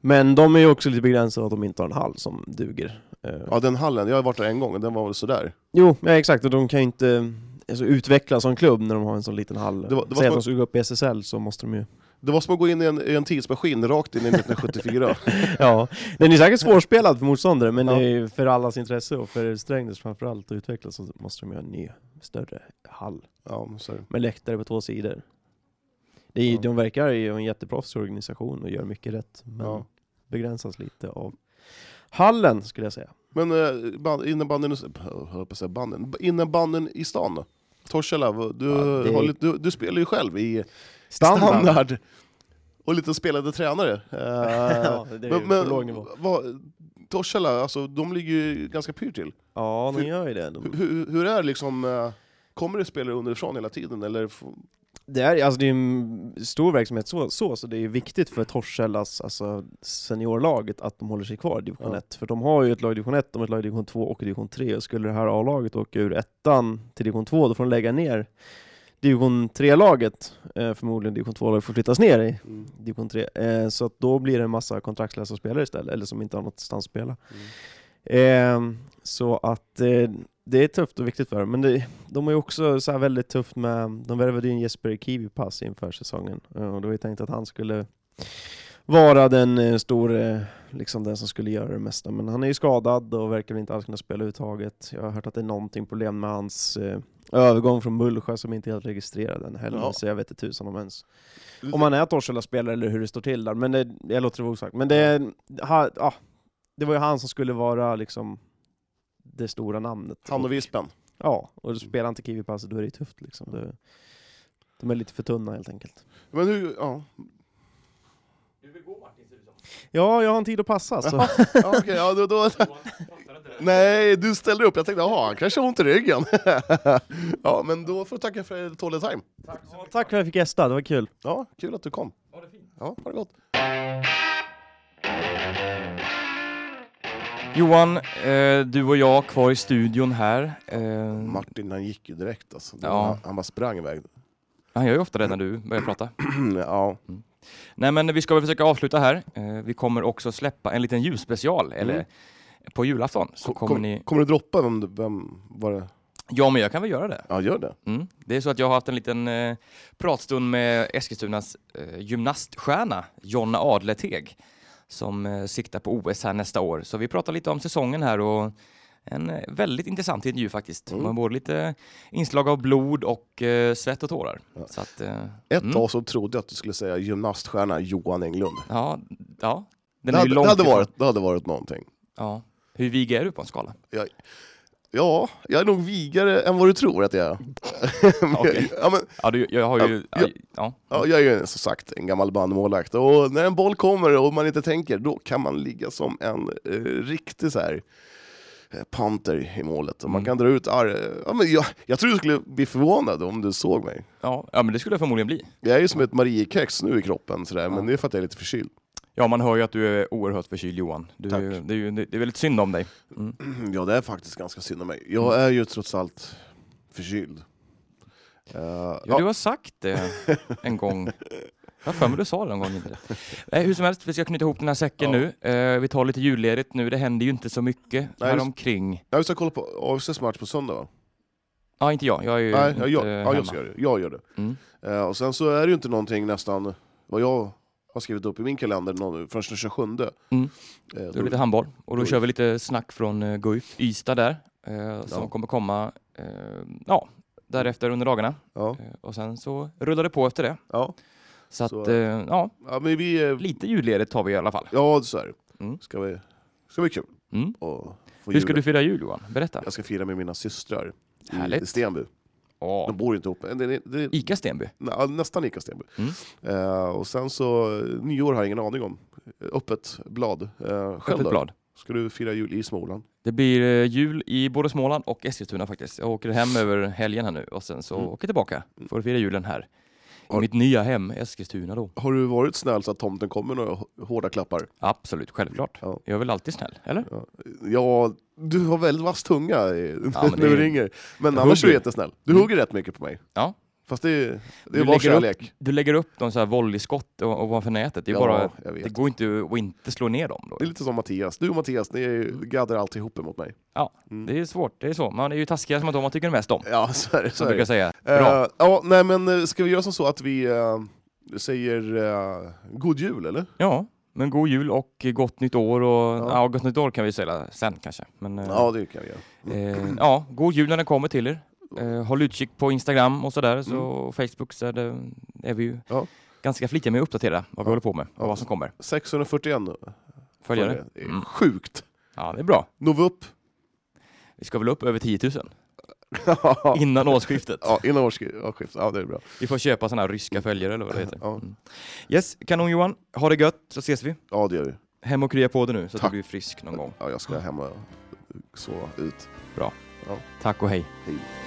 S5: men de är ju också lite begränsade av att de inte har en hall som duger. Eh,
S2: Ja, den hallen, jag har varit där en gång och den var väl sådär.
S5: Jo, ja, exakt, och de kan ju inte alltså, utvecklas som klubb när de har en sån liten hall.
S2: Det var- det var
S5: Säg att
S2: som-
S5: de skulle gå upp i SSL så måste de ju...
S2: Det var som att gå in i en, i en tidsmaskin rakt in i 1974.
S5: ja, den är säkert svårspelad för motståndare, men
S2: Ja.
S5: det är ju för allas intresse och för Strängnäs framförallt att utvecklas så måste de ju ha en ny, större hall.
S2: ja, så är det.
S5: med läktare på två sidor. Det är, ju-
S2: Ja.
S5: De verkar ju ha en jätteproffsig organisation och gör mycket rätt, men
S2: Ja.
S5: begränsas lite av hallen skulle jag säga.
S2: Men eh, ban- innebandyn i, jag höll på att säga banden, innebandyn i stan då? Torshälla, vad- du,
S5: Ja, det-
S2: har lite- du, du spelar ju själv i
S5: Standard!
S2: standard. Och lite spelade tränare. Eh,
S5: Ja, det är ju på låg nivå.
S2: vad- Torshälla, alltså, de ligger ju ganska pyrt till.
S5: Ja, de
S2: För-
S5: gör ju det. De,
S2: Hur- Hur, hur är det liksom, eh, kommer det spelare underifrån hela tiden? Eller, f-
S5: det, är, alltså, det är en stor verksamhet så, så, så det är ju viktigt för Torsellas alltså, seniorlaget att de håller sig kvar i division
S2: Ja.
S5: 1. För de har ju ett lag i division 1, de har ett lag i division 2 och i division 3. Och skulle det här A-laget åka ur ettan till division 2, då får de lägga ner division 3-laget, eh, förmodligen division 2-laget får flyttas ner i
S2: Mm.
S5: division 3. Eh, så att då blir det en massa kontraktslösa spelare istället, eller som inte har någonstans att spela. Eh, så att eh, det är tufft och viktigt för dem. Men det, de har ju också så här väldigt tufft med, de värvade ju en Jesper Kivipass inför säsongen. Eh, och det var ju tänkt att han skulle vara den eh, store liksom den som skulle göra det mesta. Men han är ju skadad och verkar väl inte alls kunna spela överhuvudtaget. Jag har hört att det är någonting problem med hans eh, övergång från Mullsjö som inte är helt registrerad än heller,
S2: Ja.
S5: så jag vet inte tusan om ens om han är Torshälla-spelare eller hur det står till där. Men det, jag låter det vara osagt. Men det, ha, ja, det var ju han som skulle vara liksom det stora namnet.
S2: Han och Vispen.
S5: Ja, och spelar inte kiwipasset då är det tufft liksom. Det, de är lite för tunna helt enkelt.
S2: Men hur, ja.
S5: Ja, jag har en tid att passa så.
S2: ja Okej, ja då... då. Nej, du ställde upp. Jag tänkte, jaha, han kanske har ont i ryggen. ja, men då får du tacka för er tåliga time.
S5: Ja, Tack för att jag fick gästa, det var kul.
S2: Ja, kul att du kom. Ha det fint. Ja, ha det gott.
S1: Johan, eh, du och jag kvar i studion här. Eh,
S2: Martin, han gick ju direkt alltså. Det
S1: Ja.
S2: var- Han bara sprang iväg.
S1: han gör ju ofta det när du börjar prata.
S2: ja.
S1: Nej men vi ska väl försöka avsluta här. Eh, vi kommer också släppa en liten julspecial,
S5: Mm.
S1: eller på julafton. Så
S2: Kom-
S1: kommer
S2: kom-
S1: ni...
S2: Kommer du droppa vem, du- vem var det?
S1: Ja men jag kan väl göra det.
S2: Ja, gör det.
S1: Mm. Det är så att jag har haft en liten eh, pratstund med Eskilstunas eh, gymnaststjärna Jonna Adleteg som eh, siktar på OS här nästa år. Så vi pratar lite om säsongen här och en eh, väldigt intressant intervju faktiskt.
S2: Mm.
S1: Med både lite inslag av blod och eh, svett och tårar.
S2: Ja.
S1: Så att, eh,
S2: Ett
S1: mm.
S2: tag så trodde jag att du skulle säga gymnaststjärna Johan Englund.
S1: Ja, ja. Den
S2: Det
S1: är ju
S2: hade,
S1: långt
S2: det, hade
S1: ifrån-
S2: varit, det hade varit någonting.
S1: Ja. Hur vig är du på en skala?
S2: Ja, jag är nog vigare än vad du tror att jag är. Men-
S1: Okej.
S2: ja, men,
S1: Ja, du, jag har ju...
S2: Ja, ja.
S1: Ja.
S2: ja, jag är ju som sagt en gammal bandmålvakt och när en boll kommer och man inte tänker, då kan man ligga som en eh, riktig så här eh, panter i målet. Och man
S1: Mm.
S2: kan dra ut ar- ja, men jag, jag tror du skulle bli förvånad om du såg mig.
S1: Ja. ja, men det skulle jag förmodligen bli.
S2: Jag är ju som ett Mariekex nu i kroppen, sådär, men det är för att jag är lite förkyld.
S1: Ja, man hör ju att du är oerhört förkyld Johan. Du,
S2: Tack.
S1: det, är ju, det är väldigt synd om dig.
S2: Ja, det är faktiskt ganska synd om mig. Jag
S1: Mm.
S2: är ju trots allt förkyld. Eh,
S1: Ja,
S2: ja,
S1: du har sagt det en gång. Jag har för mig du sa det någon gång. Inte. Nej, hur som helst, vi ska knyta ihop den här säcken
S2: Ja.
S1: nu. Eh, vi tar lite julledigt nu, det händer ju inte så mycket
S2: Nej,
S1: här
S2: just-
S1: omkring.
S2: ja, vi ska kolla på AFCs match på söndag va?
S1: Ja, inte jag. Jag är ju
S2: Nej,
S1: inte
S2: jag, jag, ja, jag
S1: hemma.
S2: ska göra det. Jag gör det.
S1: Mm.
S2: Eh, och sen så är det ju inte någonting nästan vad jag har skrivit upp i min kalender någon, förrän den 27.
S1: Mm.
S2: Eh,
S1: Då är
S2: då,
S1: det lite handboll. Och då
S2: Guif.
S1: kör vi lite snack från eh, Guif Ystad där, eh, som
S2: Ja.
S1: kommer komma eh, ja, därefter under dagarna.
S2: ja,
S1: Eh, och sen så rullar det på efter det.
S2: ja.
S1: Så att,
S2: Så-
S1: eh, ja,
S2: ja, men vi... eh,
S1: lite julledigt tar vi i alla fall.
S2: Ja, så är det.
S1: Mm.
S2: Ska vi... Ska bli kul.
S1: Mm.
S2: Och få
S1: Hur ska
S2: julen.
S1: du fira jul Johan? Berätta.
S2: Jag ska fira med mina systrar i, i
S1: Härligt.
S2: Stenby.
S1: Ja.
S2: De bor ju inte ihop. Det, det, det,
S1: Ica Stenby.
S2: Nä, nästan lika Stenby.
S1: Mm.
S2: Eh, och sen så, eh, nyår har jag ingen aning om. Eh, Öppet blad. Eh, själv
S1: Öppet
S2: då?
S1: blad.
S2: Ska du fira jul i Småland?
S1: Det blir eh, jul i både Småland och Eskilstuna faktiskt. Jag åker hem över helgen här nu och sen så
S2: Mm.
S1: åker jag tillbaka för att fira julen här. I
S2: Har-
S1: mitt nya hem, Eskilstuna då.
S2: Har du varit snäll så att tomten kommer några h- hårda klappar?
S1: Absolut, självklart.
S2: Ja.
S1: Jag är väl alltid snäll, eller?
S2: Ja, ja du har väldigt vass tunga i-
S1: men
S2: när
S1: det är-
S2: du ringer. Men
S1: Jag
S2: annars är du
S1: hugger.
S2: jättesnäll. Du
S1: Mm.
S2: hugger rätt mycket på mig.
S1: Ja.
S2: Fast det är, det
S1: Du
S2: är bara
S1: lägger upp
S2: kärlek.
S1: Du lägger upp dem så här volleyskott o- ovanför nätet. Det, är
S2: ja,
S1: bara,
S2: jag vet.
S1: det går inte att inte slå ner dem. Då.
S2: Det är lite som Mattias. Du och Mattias, ni är ju- gaddar alltid ihop emot mig.
S1: Det är svårt, det är så. Man är ju taskigare som att de man tycker mest om.
S2: Ja, så är det. Så
S1: Som
S2: är
S1: jag
S2: det.
S1: brukar säga. Bra.
S2: Eh, ja, nej men eh, ska vi göra som så att vi eh, säger eh, god jul eller?
S1: Ja, men god jul och gott nytt år. Och,
S2: Ja.
S1: ja. gott nytt år kan vi säga sen kanske. Men, eh,
S2: Ja, det kan vi göra.
S1: Eh, ja, god jul när den kommer till er. Eh, håll utkik på Instagram och sådär, så och Facebook så är, det, är vi ju
S2: Mm. Ja.
S1: ganska flitiga med att uppdatera vad vi håller på med och
S2: Ja.
S1: vad som kommer.
S2: 641
S1: Följare.
S2: Det är
S1: Mm.
S2: sjukt.
S1: Ja, det är bra.
S2: Når vi upp?
S1: Vi ska väl upp över 10 000 innan årsskiftet.
S2: ja, innan årsskiftet. Ja, det är bra.
S1: Vi får köpa sådana här ryska följare eller vad det heter.
S2: Ja.
S1: Mm. Yes, kanon Johan. Ha det gött så ses vi.
S2: Ja, det gör vi.
S1: Hem och krya på dig nu så att
S2: Tack.
S1: du blir frisk någon gång.
S2: Ja, jag ska hem och sova ut.
S1: Bra.
S2: Ja.
S1: Tack och hej.
S2: Hej.